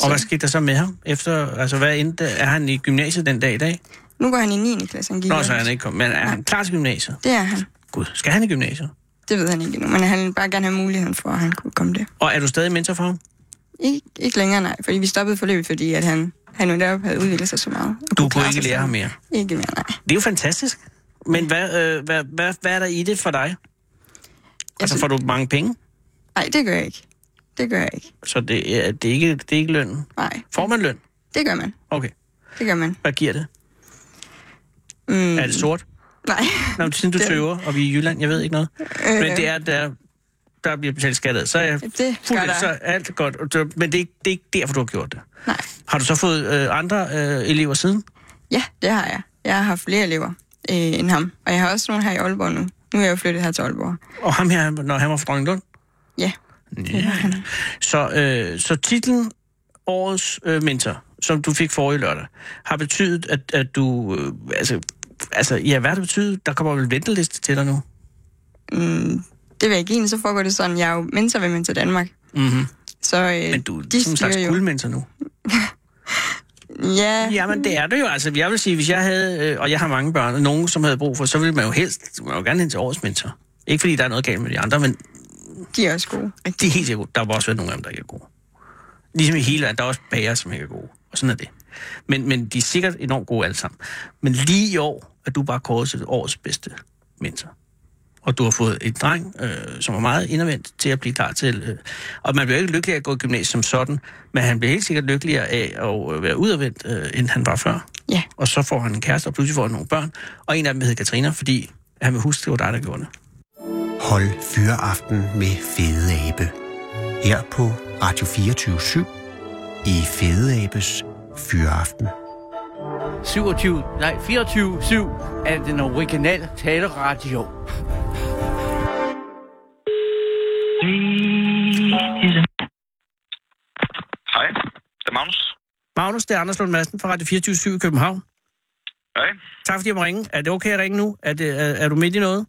Speaker 3: Og hvad skete der så med ham? Efter, altså, hvad endte, er han i gymnasiet den dag i dag?
Speaker 8: Nu går han i 9. klasse, han gik
Speaker 3: Nå,
Speaker 8: i
Speaker 3: så er han
Speaker 8: ellevte.
Speaker 3: ikke kommet. Men er han klar til gymnasiet?
Speaker 8: Det er han.
Speaker 3: Gud, skal han i gymnasiet?
Speaker 8: Det ved han ikke endnu, men han vil bare gerne have muligheden for, at han kunne komme det.
Speaker 3: Og er du stadig mentor for ham?
Speaker 8: Ikke, ikke længere, nej, fordi vi stoppede forløbet, fordi at han, han jo deroppe havde udviklet sig så meget. og
Speaker 3: Du kunne
Speaker 8: klare
Speaker 3: ikke
Speaker 8: sig
Speaker 3: lære
Speaker 8: selv.
Speaker 3: ham mere.
Speaker 8: Ikke mere, nej.
Speaker 3: Det er jo fantastisk. Men hvad, øh, hvad, hvad, hvad er der i det for dig? Altså,
Speaker 8: synes-
Speaker 3: får du mange penge?
Speaker 8: Nej, det gør jeg ikke. Det gør jeg ikke.
Speaker 3: Så det, er, det, er ikke, det er ikke lønnen.
Speaker 8: Nej,
Speaker 3: Får man løn?
Speaker 8: det gør man.
Speaker 3: Okay.
Speaker 8: Det gør man.
Speaker 3: Hvad giver det?
Speaker 8: Mm,
Speaker 3: Er det sort?
Speaker 8: Nej.
Speaker 3: Nå, men siden du
Speaker 8: Det- Øh,
Speaker 3: tøver, og vi er i Jylland, jeg ved ikke noget. Men det er, der, der bliver betalt skat af. Så er jeg
Speaker 8: Det gør
Speaker 3: fuld,
Speaker 8: der.
Speaker 3: så er alt godt. Og det- Men det er, ikke, det er ikke derfor, du har gjort det.
Speaker 8: Nej.
Speaker 3: Har du så fået øh, andre øh, elever siden?
Speaker 8: Ja, det har jeg. Jeg har haft flere elever øh, end ham. Og jeg har også nogle her i Aalborg nu. Nu er jeg jo flyttet her til Aalborg.
Speaker 3: Og ham her, når han var fra Dronninglund?
Speaker 8: Ja,
Speaker 3: Ja. Så, øh, så titlen Årets øh, Mentor, som du fik forrige lørdag, har betydet, at, at du... Øh, altså, altså, ja, hvad har det betydet? Der kommer vel en venteliste til dig nu?
Speaker 8: mm, det vil jeg ikke egentlig, så foregår det sådan. Jeg er jo mentor ved Mentor Danmark.
Speaker 3: Mm-hmm.
Speaker 8: Så øh,
Speaker 3: Men du er
Speaker 8: de
Speaker 3: sådan en slags
Speaker 8: styrer jo.
Speaker 3: guldmentor nu.
Speaker 8: Ja, ja.
Speaker 3: Jamen, det er det jo. Altså, jeg vil sige, hvis jeg havde, øh, og jeg har mange børn, og nogen, som havde brug for, så ville man jo helst, man vil jo gerne hen til årets mentor. Ikke fordi der er noget galt med de andre, men
Speaker 8: de er også gode.
Speaker 3: de er helt sikkert gode. Der har også været nogle af dem, der ikke er gode. Ligesom i hele verden, der er også bager, som ikke er gode. Og sådan er det. Men, men de er sikkert enormt gode alle sammen. Men lige i år er du bare kåret til årets bedste mentor. Og du har fået et dreng, øh, som er meget indadvendt til at blive klar til. Øh. Og man bliver jo ikke lykkelig af at gå i gymnasiet som sådan, men han bliver helt sikkert lykkeligere af at øh, være udadvendt, øh, end han var før
Speaker 8: Ja,
Speaker 3: og så får han en kæreste, og pludselig får han nogle børn. Og en af dem hedder Katrina, fordi han vil huske, det var dig, der gjorde det.
Speaker 5: Hold Fyreaften med Fede Abe. Her på Radio 24 i Fede Abes Fyreaften.
Speaker 9: 27, nej 24-7 af den originale taleradio.
Speaker 10: Hej, det er Magnus.
Speaker 3: Magnus, det er Anders Lund Madsen fra Radio 24 i København.
Speaker 10: Hej.
Speaker 3: Tak fordi jeg må ringe. Er det okay at ringe nu? Er, det, er, er du midt i noget?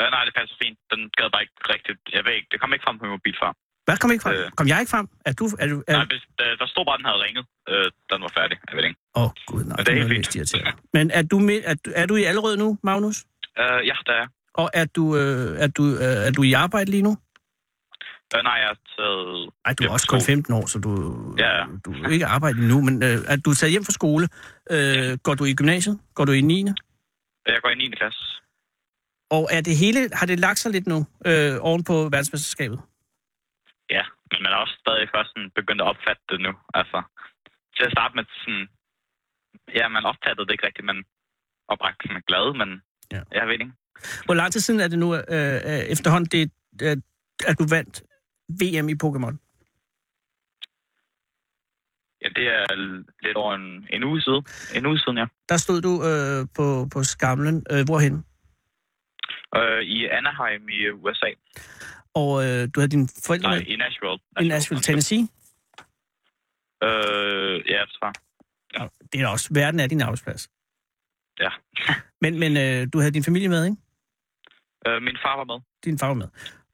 Speaker 10: Øh, nej, det passer fint. Den gad bare ikke rigtigt. Jeg ved ikke, det kom ikke frem på min mobil før.
Speaker 3: Hvad kom ikke frem?
Speaker 10: Øh.
Speaker 3: Kom jeg ikke frem? Er du... Er du er...
Speaker 10: Ja. Nej, hvis, øh, der, der stod bare, den havde ringet. Øh, den var færdig, jeg ved det ikke.
Speaker 3: Åh, oh, gud, nej.
Speaker 10: Men det er
Speaker 3: nu
Speaker 10: helt
Speaker 3: jeg
Speaker 10: fint.
Speaker 3: vist irriteret. Men er du, midt, er, du- er du i Allerød nu, Magnus?
Speaker 10: Øh, ja, der er. jeg.
Speaker 3: Og er du, øh, er, du, øh, er du i arbejde lige nu?
Speaker 10: Øh, nej, jeg har taget...
Speaker 3: Ej, du er
Speaker 10: hjem
Speaker 3: også
Speaker 10: fra
Speaker 3: kun
Speaker 10: skole.
Speaker 3: 15 år, så du,
Speaker 10: Ja, ja.
Speaker 3: du er ikke arbejde endnu. Men øh, er du er taget hjem fra skole? Øh, går du i gymnasiet? Går du i 9.
Speaker 10: Jeg går i 9. klasse.
Speaker 3: Og er det hele, har det lagt sig lidt nu øh, oven på verdensmesterskabet?
Speaker 10: Ja, men man er også stadig først sådan begyndt at opfatte det nu. Altså, til at starte med sådan... Ja, man opfattede det ikke rigtigt, men opragt sådan glad, men...
Speaker 3: Ja.
Speaker 10: Ja. Jeg ved det ikke.
Speaker 3: Hvor lang tid siden er det nu øh, øh, efterhånden, det, øh, at du vandt VM i Pokémon?
Speaker 10: Ja, det er lidt over en, en uge siden. En uge siden, ja.
Speaker 3: Der stod du øh, på, på skamlen. Øh, hvorhen?
Speaker 10: Øh, I Anaheim i USA.
Speaker 3: Og øh, du havde dine forældre
Speaker 10: Nej,
Speaker 3: med
Speaker 10: i Nashville.
Speaker 3: i Nashville, Tennessee.
Speaker 10: Øh, ja, jeg tror.
Speaker 3: Ja. Det er da også, verden er din arbejdsplads.
Speaker 10: Ja.
Speaker 3: [laughs] Men, men øh, du havde din familie med, ikke?
Speaker 10: Øh, min far var med.
Speaker 3: Din far var med.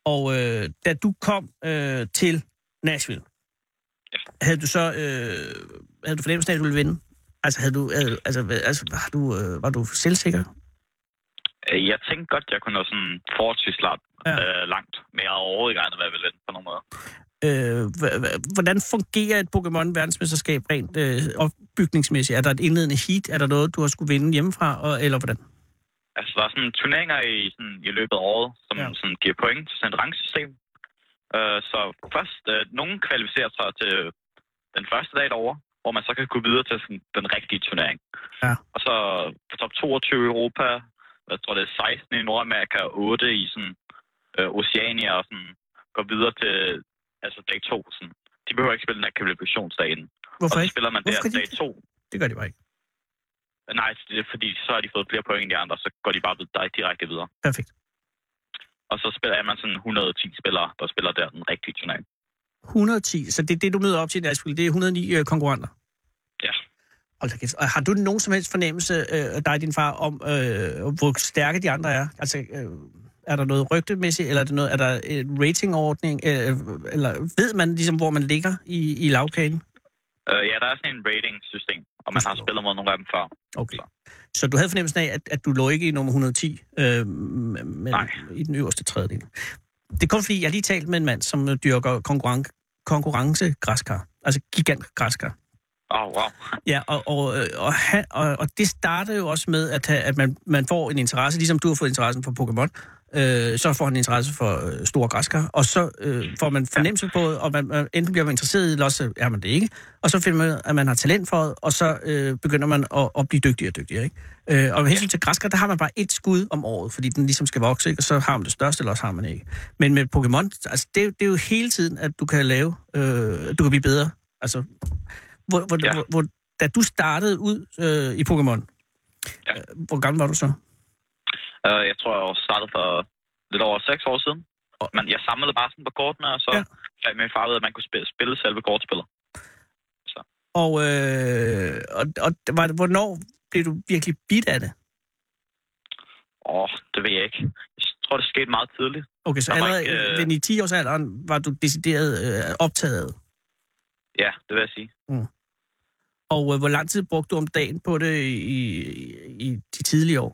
Speaker 3: Og øh, da du kom øh, til Nashville,
Speaker 10: Ja.
Speaker 3: havde du så øh, havde du fornemmelsen af, at du ville vinde? Altså, havde du, havde, altså, hvad- altså var, du, øh, var du selvsikker?
Speaker 10: Øh, Jeg tænkte godt, jeg kunne nå sådan forholdsvis langt,
Speaker 3: Ja.
Speaker 10: ja. øh, langt men jeg havde overhovedet ikke regnet, hvad jeg ville vinde på nogen måde.
Speaker 3: Øh, h- h- hvordan fungerer et Pokémon-verdensmesterskab rent øh, opbygningsmæssigt? Er der et indledende heat? Er der noget, du har skulle vinde hjemmefra, og, eller hvordan?
Speaker 10: Altså, der er sådan turneringer i, sådan, i løbet af året, som
Speaker 3: Ja.
Speaker 10: ja. sådan, giver point til sådan et rangsystem. Øh, så først, øh, nogen kvalificerer sig til den første dag derovre, hvor man så kan gå videre til sådan, den rigtige turnering.
Speaker 3: Ja.
Speaker 10: Og så top 22 i Europa, jeg tror det er 16 i Nordamerika og 8 i sådan, øh, Oceania og sådan, går videre til altså dag 2. Sådan. De behøver ikke spille den her kvalifikationsdagen.
Speaker 3: Hvorfor
Speaker 10: og så
Speaker 3: ikke?
Speaker 10: spiller man
Speaker 3: Hvorfor
Speaker 10: der
Speaker 3: skal de
Speaker 10: dag 2.
Speaker 3: Det gør de bare ikke.
Speaker 10: Nej, det er fordi så har de fået flere point end de andre, så går de bare vid- dig- direkte videre.
Speaker 3: Perfekt.
Speaker 10: Og så spiller er man sådan 110 spillere, der spiller der den rigtige turnering.
Speaker 3: 110, så det er det, du møder op til i Nashville. Det er 109 øh, konkurrenter.
Speaker 10: Ja.
Speaker 3: Hold da kæft. Og har du nogen som helst fornemmelse, øh, dig og din far, om øh, hvor stærke de andre er? Altså, øh, er der noget rygtemæssigt, eller er, det noget, er der en ratingordning? Øh, eller ved man ligesom, hvor man ligger i, i lavkagen?
Speaker 10: Øh, ja, der er sådan en rating-system, og man har spillet mod nogle af dem før.
Speaker 3: Okay. Så du havde fornemmelsen af, at, at du lå ikke i nummer 110, øh, men Nej. i den øverste tredjedel. Det er kun fordi, jeg lige talte med en mand, som øh, dyrker konkurren- konkurrencegræskar. Altså gigantgræskar.
Speaker 10: Åh, oh, wow. [laughs]
Speaker 3: Ja, og, og, øh, og, han, og, og det starter jo også med, at, ha- at man, man får en interesse, ligesom du har fået interessen for Pokémon, øh, så får han en interesse for øh, store græskar, og så øh, får man fornemmelse på, og man, man enten bliver man interesseret i det, eller så er man det ikke, og så finder man, ud, at man har talent for det, og så øh, begynder man at, at blive dygtigere og dygtigere. Ikke? Øh, og med hensyn til græskar, der har man bare et skud om året, fordi den ligesom skal vokse, ikke? og så har man det største, eller også har man ikke. Men med Pokémon, altså, det, er jo- det er jo hele tiden, at du kan lave, øh, du kan blive bedre. Altså, hvor, hvor, ja. hvor, hvor, da du startede ud øh, i Pokémon, ja. øh, hvor gammel var du så?
Speaker 10: Øh, jeg tror, jeg startede for lidt over 6 år siden. Men jeg samlede bare sådan på kortene, og så ja. fandt min far ud af, at man kunne spille, spille selve kortspillet.
Speaker 3: Og, øh, og, og var, det- hvornår blev du virkelig bidt af det?
Speaker 10: Åh, oh, det ved jeg ikke. Jeg tror, det skete meget tidligt.
Speaker 3: Okay, så
Speaker 10: Der var
Speaker 3: allerede
Speaker 10: ikke, øh,
Speaker 3: øh... i 10-årsalderen var du decideret øh, optaget af det.
Speaker 10: Ja, det vil jeg sige.
Speaker 3: Og øh, hvor lang tid brugte du om dagen på det i, i, i de tidlige år?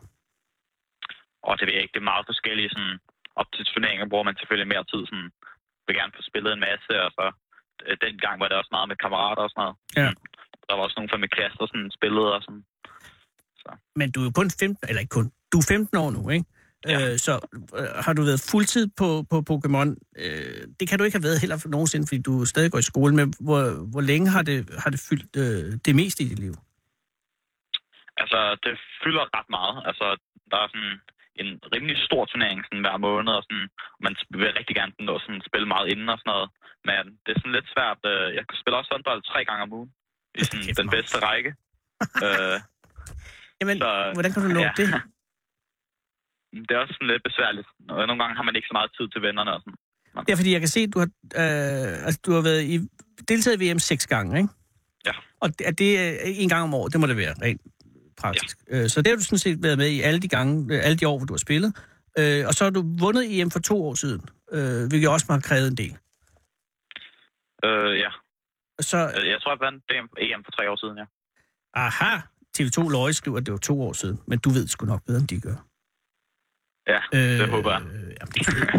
Speaker 10: Og det ved jeg ikke, det er meget forskellige. Sådan, op til turneringer bruger man selvfølgelig mere tid. Sådan, vil gerne få spillet en masse, og så øh, dengang var det også meget med kammerater og sådan noget. Mm.
Speaker 3: Ja.
Speaker 10: Der var også nogen fra min klasse, der sådan spillede og sådan.
Speaker 3: Men du er jo kun 15, eller ikke kun, du er 15 år nu, ikke? Ja. Øh, så øh, har du været fuldtid på, på Pokémon? Øh, det kan du ikke have været heller for nogensinde, fordi du stadig går i skole, men hvor, hvor længe har det, har det fyldt øh, det meste i dit liv?
Speaker 10: Altså, det fylder ret meget. Altså, der er sådan en rimelig stor turnering sådan, hver måned, og sådan, man vil rigtig gerne nå sådan, at spille meget inden og sådan noget. Men det er sådan lidt svært. Øh, Jeg spiller også håndbold tre gange om ugen. I sådan, den bedste række. øh,
Speaker 3: Jamen,
Speaker 10: så,
Speaker 3: Hvordan kan du nå ja. det?
Speaker 10: Det er også sådan lidt besværligt. Og nogle gange har man ikke så meget tid til vennerne og sådan.
Speaker 3: Det er fordi, jeg kan se, at du har, øh, altså, du har været i, deltaget i VM seks gange, ikke?
Speaker 10: Ja.
Speaker 3: Og det, er det øh, en gang om året? Det må det være, rent praktisk. Ja. Øh, så det har du sådan set været med i alle de, gange, øh, alle de år, hvor du har spillet. Øh, og så har du vundet EM for to år siden, øh, hvilket også har krævet en del.
Speaker 10: Øh, ja.
Speaker 3: Så,
Speaker 10: Øh, Jeg tror, jeg vandt DM EM for tre år siden, ja.
Speaker 3: aha, TV2 Løje skriver, at det var to år siden, men du ved sgu nok bedre, end de gør.
Speaker 10: Ja, øh, det håber jeg.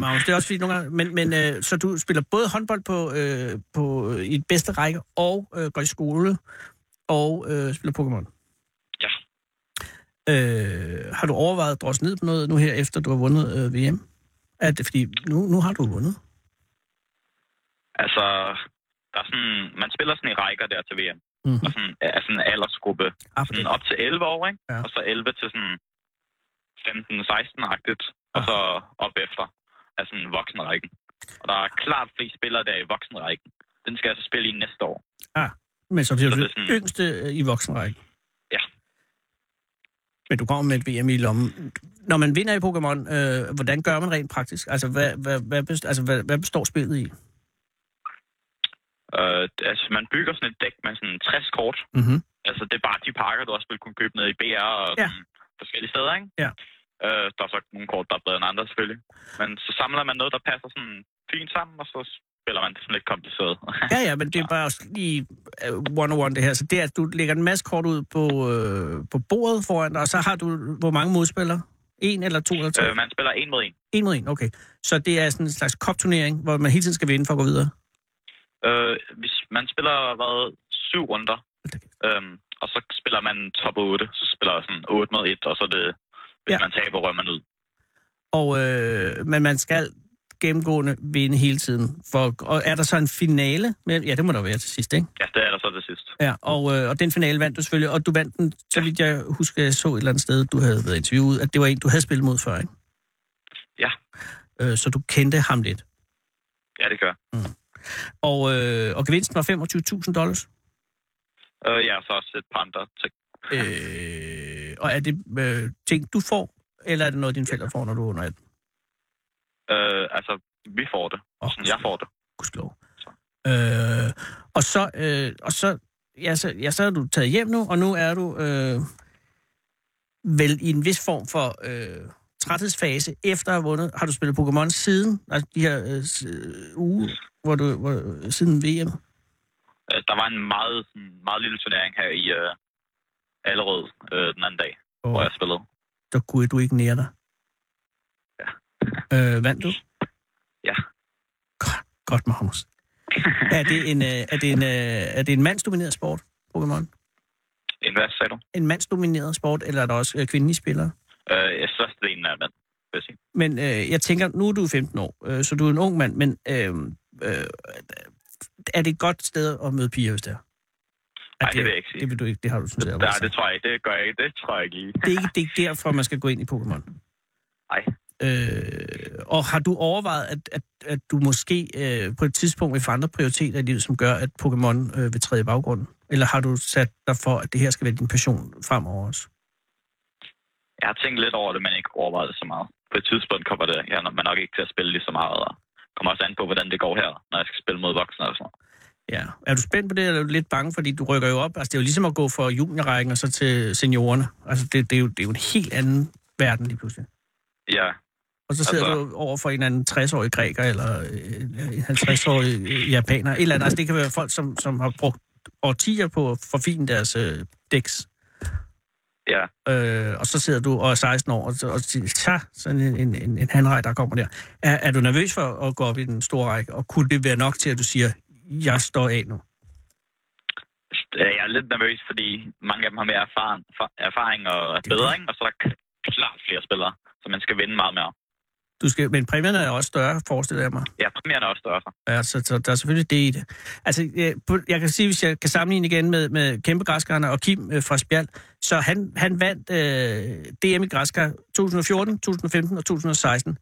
Speaker 3: Magnus, det er også fordi nogle gange... Men, men øh, så du spiller både håndbold på, øh, på, øh, i et bedste række, og øh, går i skole, og øh, spiller Pokémon?
Speaker 10: Ja.
Speaker 3: Øh, har du overvejet at drosse ned på noget nu her, efter du har vundet øh, VM? Er det, fordi nu, nu har du vundet.
Speaker 10: Altså, der er sådan, man spiller sådan i rækker der til VM.
Speaker 3: Mhm.
Speaker 10: Og sådan, er sådan en aldersgruppe. Sådan op til 11 år, ikke?
Speaker 3: Ja.
Speaker 10: Og så 11 til sådan 15-16-agtigt. Og så op efter er sådan voksenrækken. Og der er klart flest spillere der i voksenrækken. Den skal jeg så spille i næste år.
Speaker 3: Ah, men så bliver
Speaker 10: Så
Speaker 3: du
Speaker 10: det er
Speaker 3: det
Speaker 10: sådan-
Speaker 3: yngste øh, i voksenrækken.
Speaker 10: Ja.
Speaker 3: Men du kommer med et VM i lommen. Når man vinder i Pokémon, øh, hvordan gør man rent praktisk? Altså, hvad, hvad, hvad, best, altså, hvad, hvad består spillet i?
Speaker 10: Øh, altså, man bygger sådan et dæk med sådan 60 kort.
Speaker 3: Mhm.
Speaker 10: Altså, det er bare de pakker, du også vil kunne købe ned i BR og
Speaker 3: Ja.
Speaker 10: ja. forskellige steder, ikke?
Speaker 3: Ja.
Speaker 10: Øh, der er så nogle kort, der er bedre end andre, selvfølgelig. Men så samler man noget, der passer sådan fint sammen, og så spiller man det sådan lidt kompliceret. [laughs]
Speaker 3: Ja, ja, men det er bare også lige øh, one-on-one det her. Så det er, at du lægger en masse kort ud på, øh, på bordet foran dig, og så har du hvor mange modspillere? En eller to eller tre?
Speaker 10: øh, man spiller en mod en.
Speaker 3: En mod en, okay. Så det er sådan en slags kopturnering, hvor man hele tiden skal vinde for at gå videre.
Speaker 10: Øh, hvis man spiller, hvad, syv runder, øhm, og så spiller man top 8, så spiller sådan 8 mod 1, og så er det, hvis
Speaker 3: Ja.
Speaker 10: ja. man taber, rører man ud.
Speaker 3: Og, øh, men man skal gennemgående vinde hele tiden. For, og er der så en finale? Med, ja, det må der være til sidst, ikke?
Speaker 10: Ja, det er der så til sidst.
Speaker 3: Ja, og, øh, og den finale vandt du selvfølgelig, og du vandt den, så vidt jeg husker, jeg så et eller andet sted, du havde været interviewet, at det var en, du havde spillet mod før, ikke?
Speaker 10: Ja.
Speaker 3: Øh, så du kendte ham lidt.
Speaker 10: Ja, det gør jeg.
Speaker 3: Og, øh, og gevinsten var 25.000 dollars.
Speaker 10: Øh, ja, så også et par andre ting.
Speaker 3: Øh, og er det øh, ting, du får, eller er det noget, dine forældre får, når du er under 18?
Speaker 10: Øh, altså, vi får det.
Speaker 3: Åh,
Speaker 10: Sådan, jeg får det.
Speaker 3: Gudslov. Øh, og så, øh, og så, ja, så, ja, så er du taget hjem nu, og nu er du øh, vel i en vis form for øh, træthedsfase efter at have vundet. Har du spillet Pokémon siden, altså de her øh, s- øh, uge, hvor du, hvor, siden VM?
Speaker 10: Øh, der var en meget, sådan, meget lille turnering her i øh, Allerød øh, den anden dag,
Speaker 3: Åh.
Speaker 10: oh. hvor jeg spillede.
Speaker 3: Der kunne du ikke nære dig. Ja. Øh, vandt du?
Speaker 10: Ja.
Speaker 3: Godt, godt Magnus. er, det en, øh, er, det en, øh, er det en mandsdomineret sport, Pokémon?
Speaker 10: En hvad sagde du?
Speaker 3: En mandsdomineret sport, eller er der også øh, kvindelige spillere?
Speaker 10: Øh, størstedelen af mænd, vil jeg sige.
Speaker 3: Men øh, jeg tænker, nu er du 15 år, øh, så du er en ung mand, men øh, øh, er det et godt sted at møde piger, hvis det er?
Speaker 10: Nej, det vil jeg ikke sige.
Speaker 3: Det vil du ikke, det har du sådan set
Speaker 10: Nej,
Speaker 3: allerede
Speaker 10: det
Speaker 3: sagt.
Speaker 10: tror jeg ikke. Det gør jeg ikke. Det tror jeg ikke lige.
Speaker 3: Det er ikke, det er ikke derfor, man skal gå ind i Pokémon.
Speaker 10: Nej.
Speaker 3: Øh, og har du overvejet, at, at, at du måske øh, på et tidspunkt vil få andre prioriteter i livet, som gør, at Pokémon øh, vil træde i baggrunden? Eller har du sat dig for, at det her skal være din passion fremover også?
Speaker 10: Jeg har tænkt lidt over det, men ikke overvejet det så meget. På et tidspunkt kommer det her, når man nok ikke til at spille lige så meget. Og kommer også an på, hvordan det går her, når jeg skal spille mod voksne og sådan noget.
Speaker 3: Ja. Er du spændt på det, eller er du lidt bange, fordi du rykker jo op? Altså, det er jo ligesom at gå fra juniorrækken og så til seniorerne. Altså, det, det, er, jo, det er jo en helt anden verden lige pludselig.
Speaker 10: Ja,
Speaker 3: Og så sidder
Speaker 10: Altså-
Speaker 3: altså... du over for en eller anden 60-årig græker, eller øh, en 50-årig øh, japaner. Et eller andet. Altså, det kan være folk, som, som har brugt årtier på at forfine deres øh, dæks.
Speaker 10: ja.
Speaker 3: Øh, og så sidder du og er 16 år, og, så- og siger, tja, sådan en, en, en, en handrej, der kommer der. Er, er du nervøs for at gå op i den store række, og kunne det være nok til, at du siger, jeg står af nu?
Speaker 10: Øh, Jeg er lidt nervøs, fordi mange af dem har mere erfaring, fa- erfaring og
Speaker 3: det.
Speaker 10: bedring, og så er der k- klart flere spillere, så man skal vinde meget mere.
Speaker 3: Du skal, men præmierne er også større, forestiller jeg mig.
Speaker 10: Ja, premieren er også større. så.
Speaker 3: Ja, så, Altså, så der er selvfølgelig det i det. Altså, jeg, jeg kan sige, hvis jeg kan sammenligne igen med, med kæmpe græskerne og Kim øh, fra Spjald, så han, han vandt øh, DM i græskar 2014, 2015 og 2016,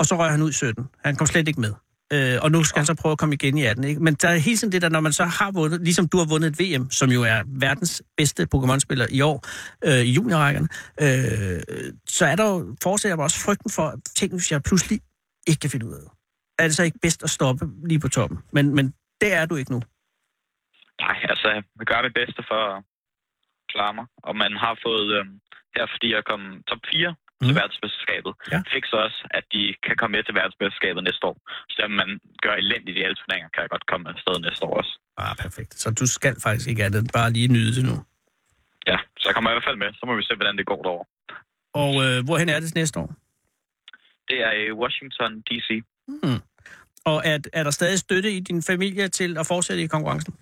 Speaker 3: og så røg han ud i 17. Han kom slet ikke med. Øh, og nu skal han så prøve at komme igen i 18. Ikke? Men der er hele tiden det der, når man så har vundet, ligesom du har vundet et VM, som jo er verdens bedste Pokémon-spiller i år, øh, i juniorrækkerne, øh, så er der jo, forestiller jeg mig også frygten for, tænk hvis jeg pludselig ikke kan finde ud af det er det så altså ikke bedst at stoppe lige på toppen. Men, men det er du ikke nu.
Speaker 10: Nej, altså, jeg gør mit bedste for at klare mig. Og man har fået, øh, her fordi jeg kom top 4 mm. til
Speaker 3: Mm.
Speaker 10: verdensmesterskabet,
Speaker 3: Ja.
Speaker 10: ja. fik så også, at de kan komme med til verdensmesterskabet næste år. Så selvom man gør elendigt i alle turneringer, kan jeg godt komme afsted næste år også.
Speaker 3: Ah, perfekt. Så du skal faktisk ikke andet end bare lige nyde det nu.
Speaker 10: Ja, så jeg kommer i hvert fald med. Så må vi se, hvordan det går derovre.
Speaker 3: Og øh, hvorhen er det næste år?
Speaker 10: Det er i Washington, D.C.
Speaker 3: Hmm. Og er, er der stadig støtte i din familie til at fortsætte i konkurrencen?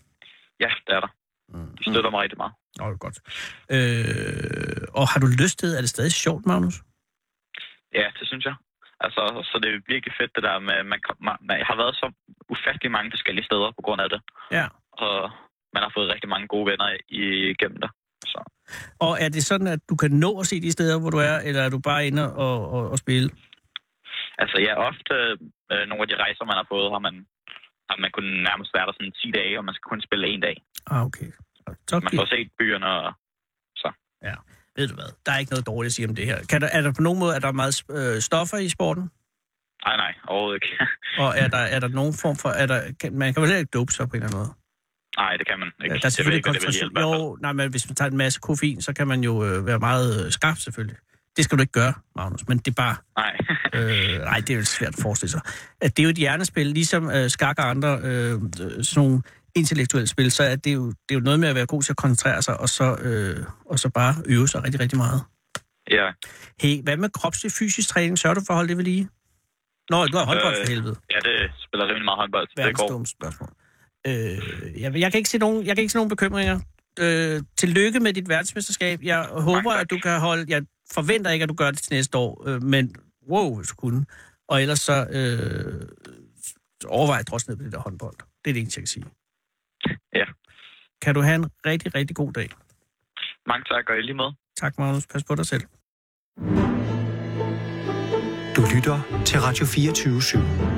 Speaker 10: Ja, det er der. De støtter mig rigtig meget.
Speaker 3: Nå, det er godt. Øh, og har du lyst til, er det stadig sjovt, Magnus?
Speaker 10: Ja, det synes jeg. Altså, så det er virkelig fedt det der med, man, kom- man, man jeg har været så ufattelig mange forskellige steder på grund af det.
Speaker 3: Ja.
Speaker 10: Og man har fået rigtig mange gode venner i- igennem det. Så
Speaker 3: Og er det sådan, at du kan nå at se de steder, hvor du er, eller er du bare inde og, og, og spille?
Speaker 10: altså, ja, ofte øh, nogle af de rejser, man har fået, har man, har man kun nærmest været der sådan 10 dage, og man skal kun spille en dag.
Speaker 3: Ah, okay. Så
Speaker 10: Man
Speaker 3: giver-
Speaker 10: får set byerne, og
Speaker 3: ved du hvad, der er ikke noget dårligt at sige om det her. Kan der, er der på nogen måde er der meget øh, stoffer i sporten?
Speaker 10: nej, nej, overhovedet ikke. [laughs]
Speaker 3: Og er der, er der nogen form for... Er der, kan, man kan vel heller ikke dope sig på en eller anden måde?
Speaker 10: nej, det kan man
Speaker 3: Ja, der er
Speaker 10: ikke. Jeg ved
Speaker 3: selvfølgelig
Speaker 10: ikke, om det vil hjælpe, i
Speaker 3: koncentration.
Speaker 10: hvert fald.
Speaker 3: Jo, nej, men hvis man tager en masse koffein, så kan man jo øh, være meget øh, skarp selvfølgelig. Det skal du ikke gøre, Magnus, men det er bare...
Speaker 10: Nej, [laughs]
Speaker 3: Øh, nej, det er jo svært at forestille sig. At det er jo et hjernespil, ligesom øh, skak og andre øh, øh, sådan nogle intellektuelle spil, så er det, jo, det er jo noget med at være god til at koncentrere sig, og så, øh, og så bare øve sig rigtig, rigtig meget.
Speaker 10: ja.
Speaker 3: Hey, hvad med kropslig fysisk træning? Sørger du for at holde det ved lige? Nå, du har håndbold for
Speaker 10: Øh,
Speaker 3: helvede.
Speaker 10: ja, det spiller rimelig meget håndbold, så det
Speaker 3: verdens
Speaker 10: går.
Speaker 3: dumme spørgsmål. Øh, jeg, jeg, kan ikke se nogen, jeg kan ikke se nogen bekymringer. Øh, tillykke med dit verdensmesterskab. Jeg håber,
Speaker 10: tak.
Speaker 3: at du kan holde... Jeg forventer ikke, at du gør det til næste år, øh, men wow, hvis du kunne. og ellers så øh, overvej at drosle ned på det der håndbold. Det er det eneste, jeg kan sige.
Speaker 10: Ja.
Speaker 3: Kan du have en rigtig, rigtig god dag.
Speaker 10: Mange tak, og i lige måde.
Speaker 3: Tak, Magnus. Pas på dig selv.
Speaker 5: Du lytter til Radio 24 /7.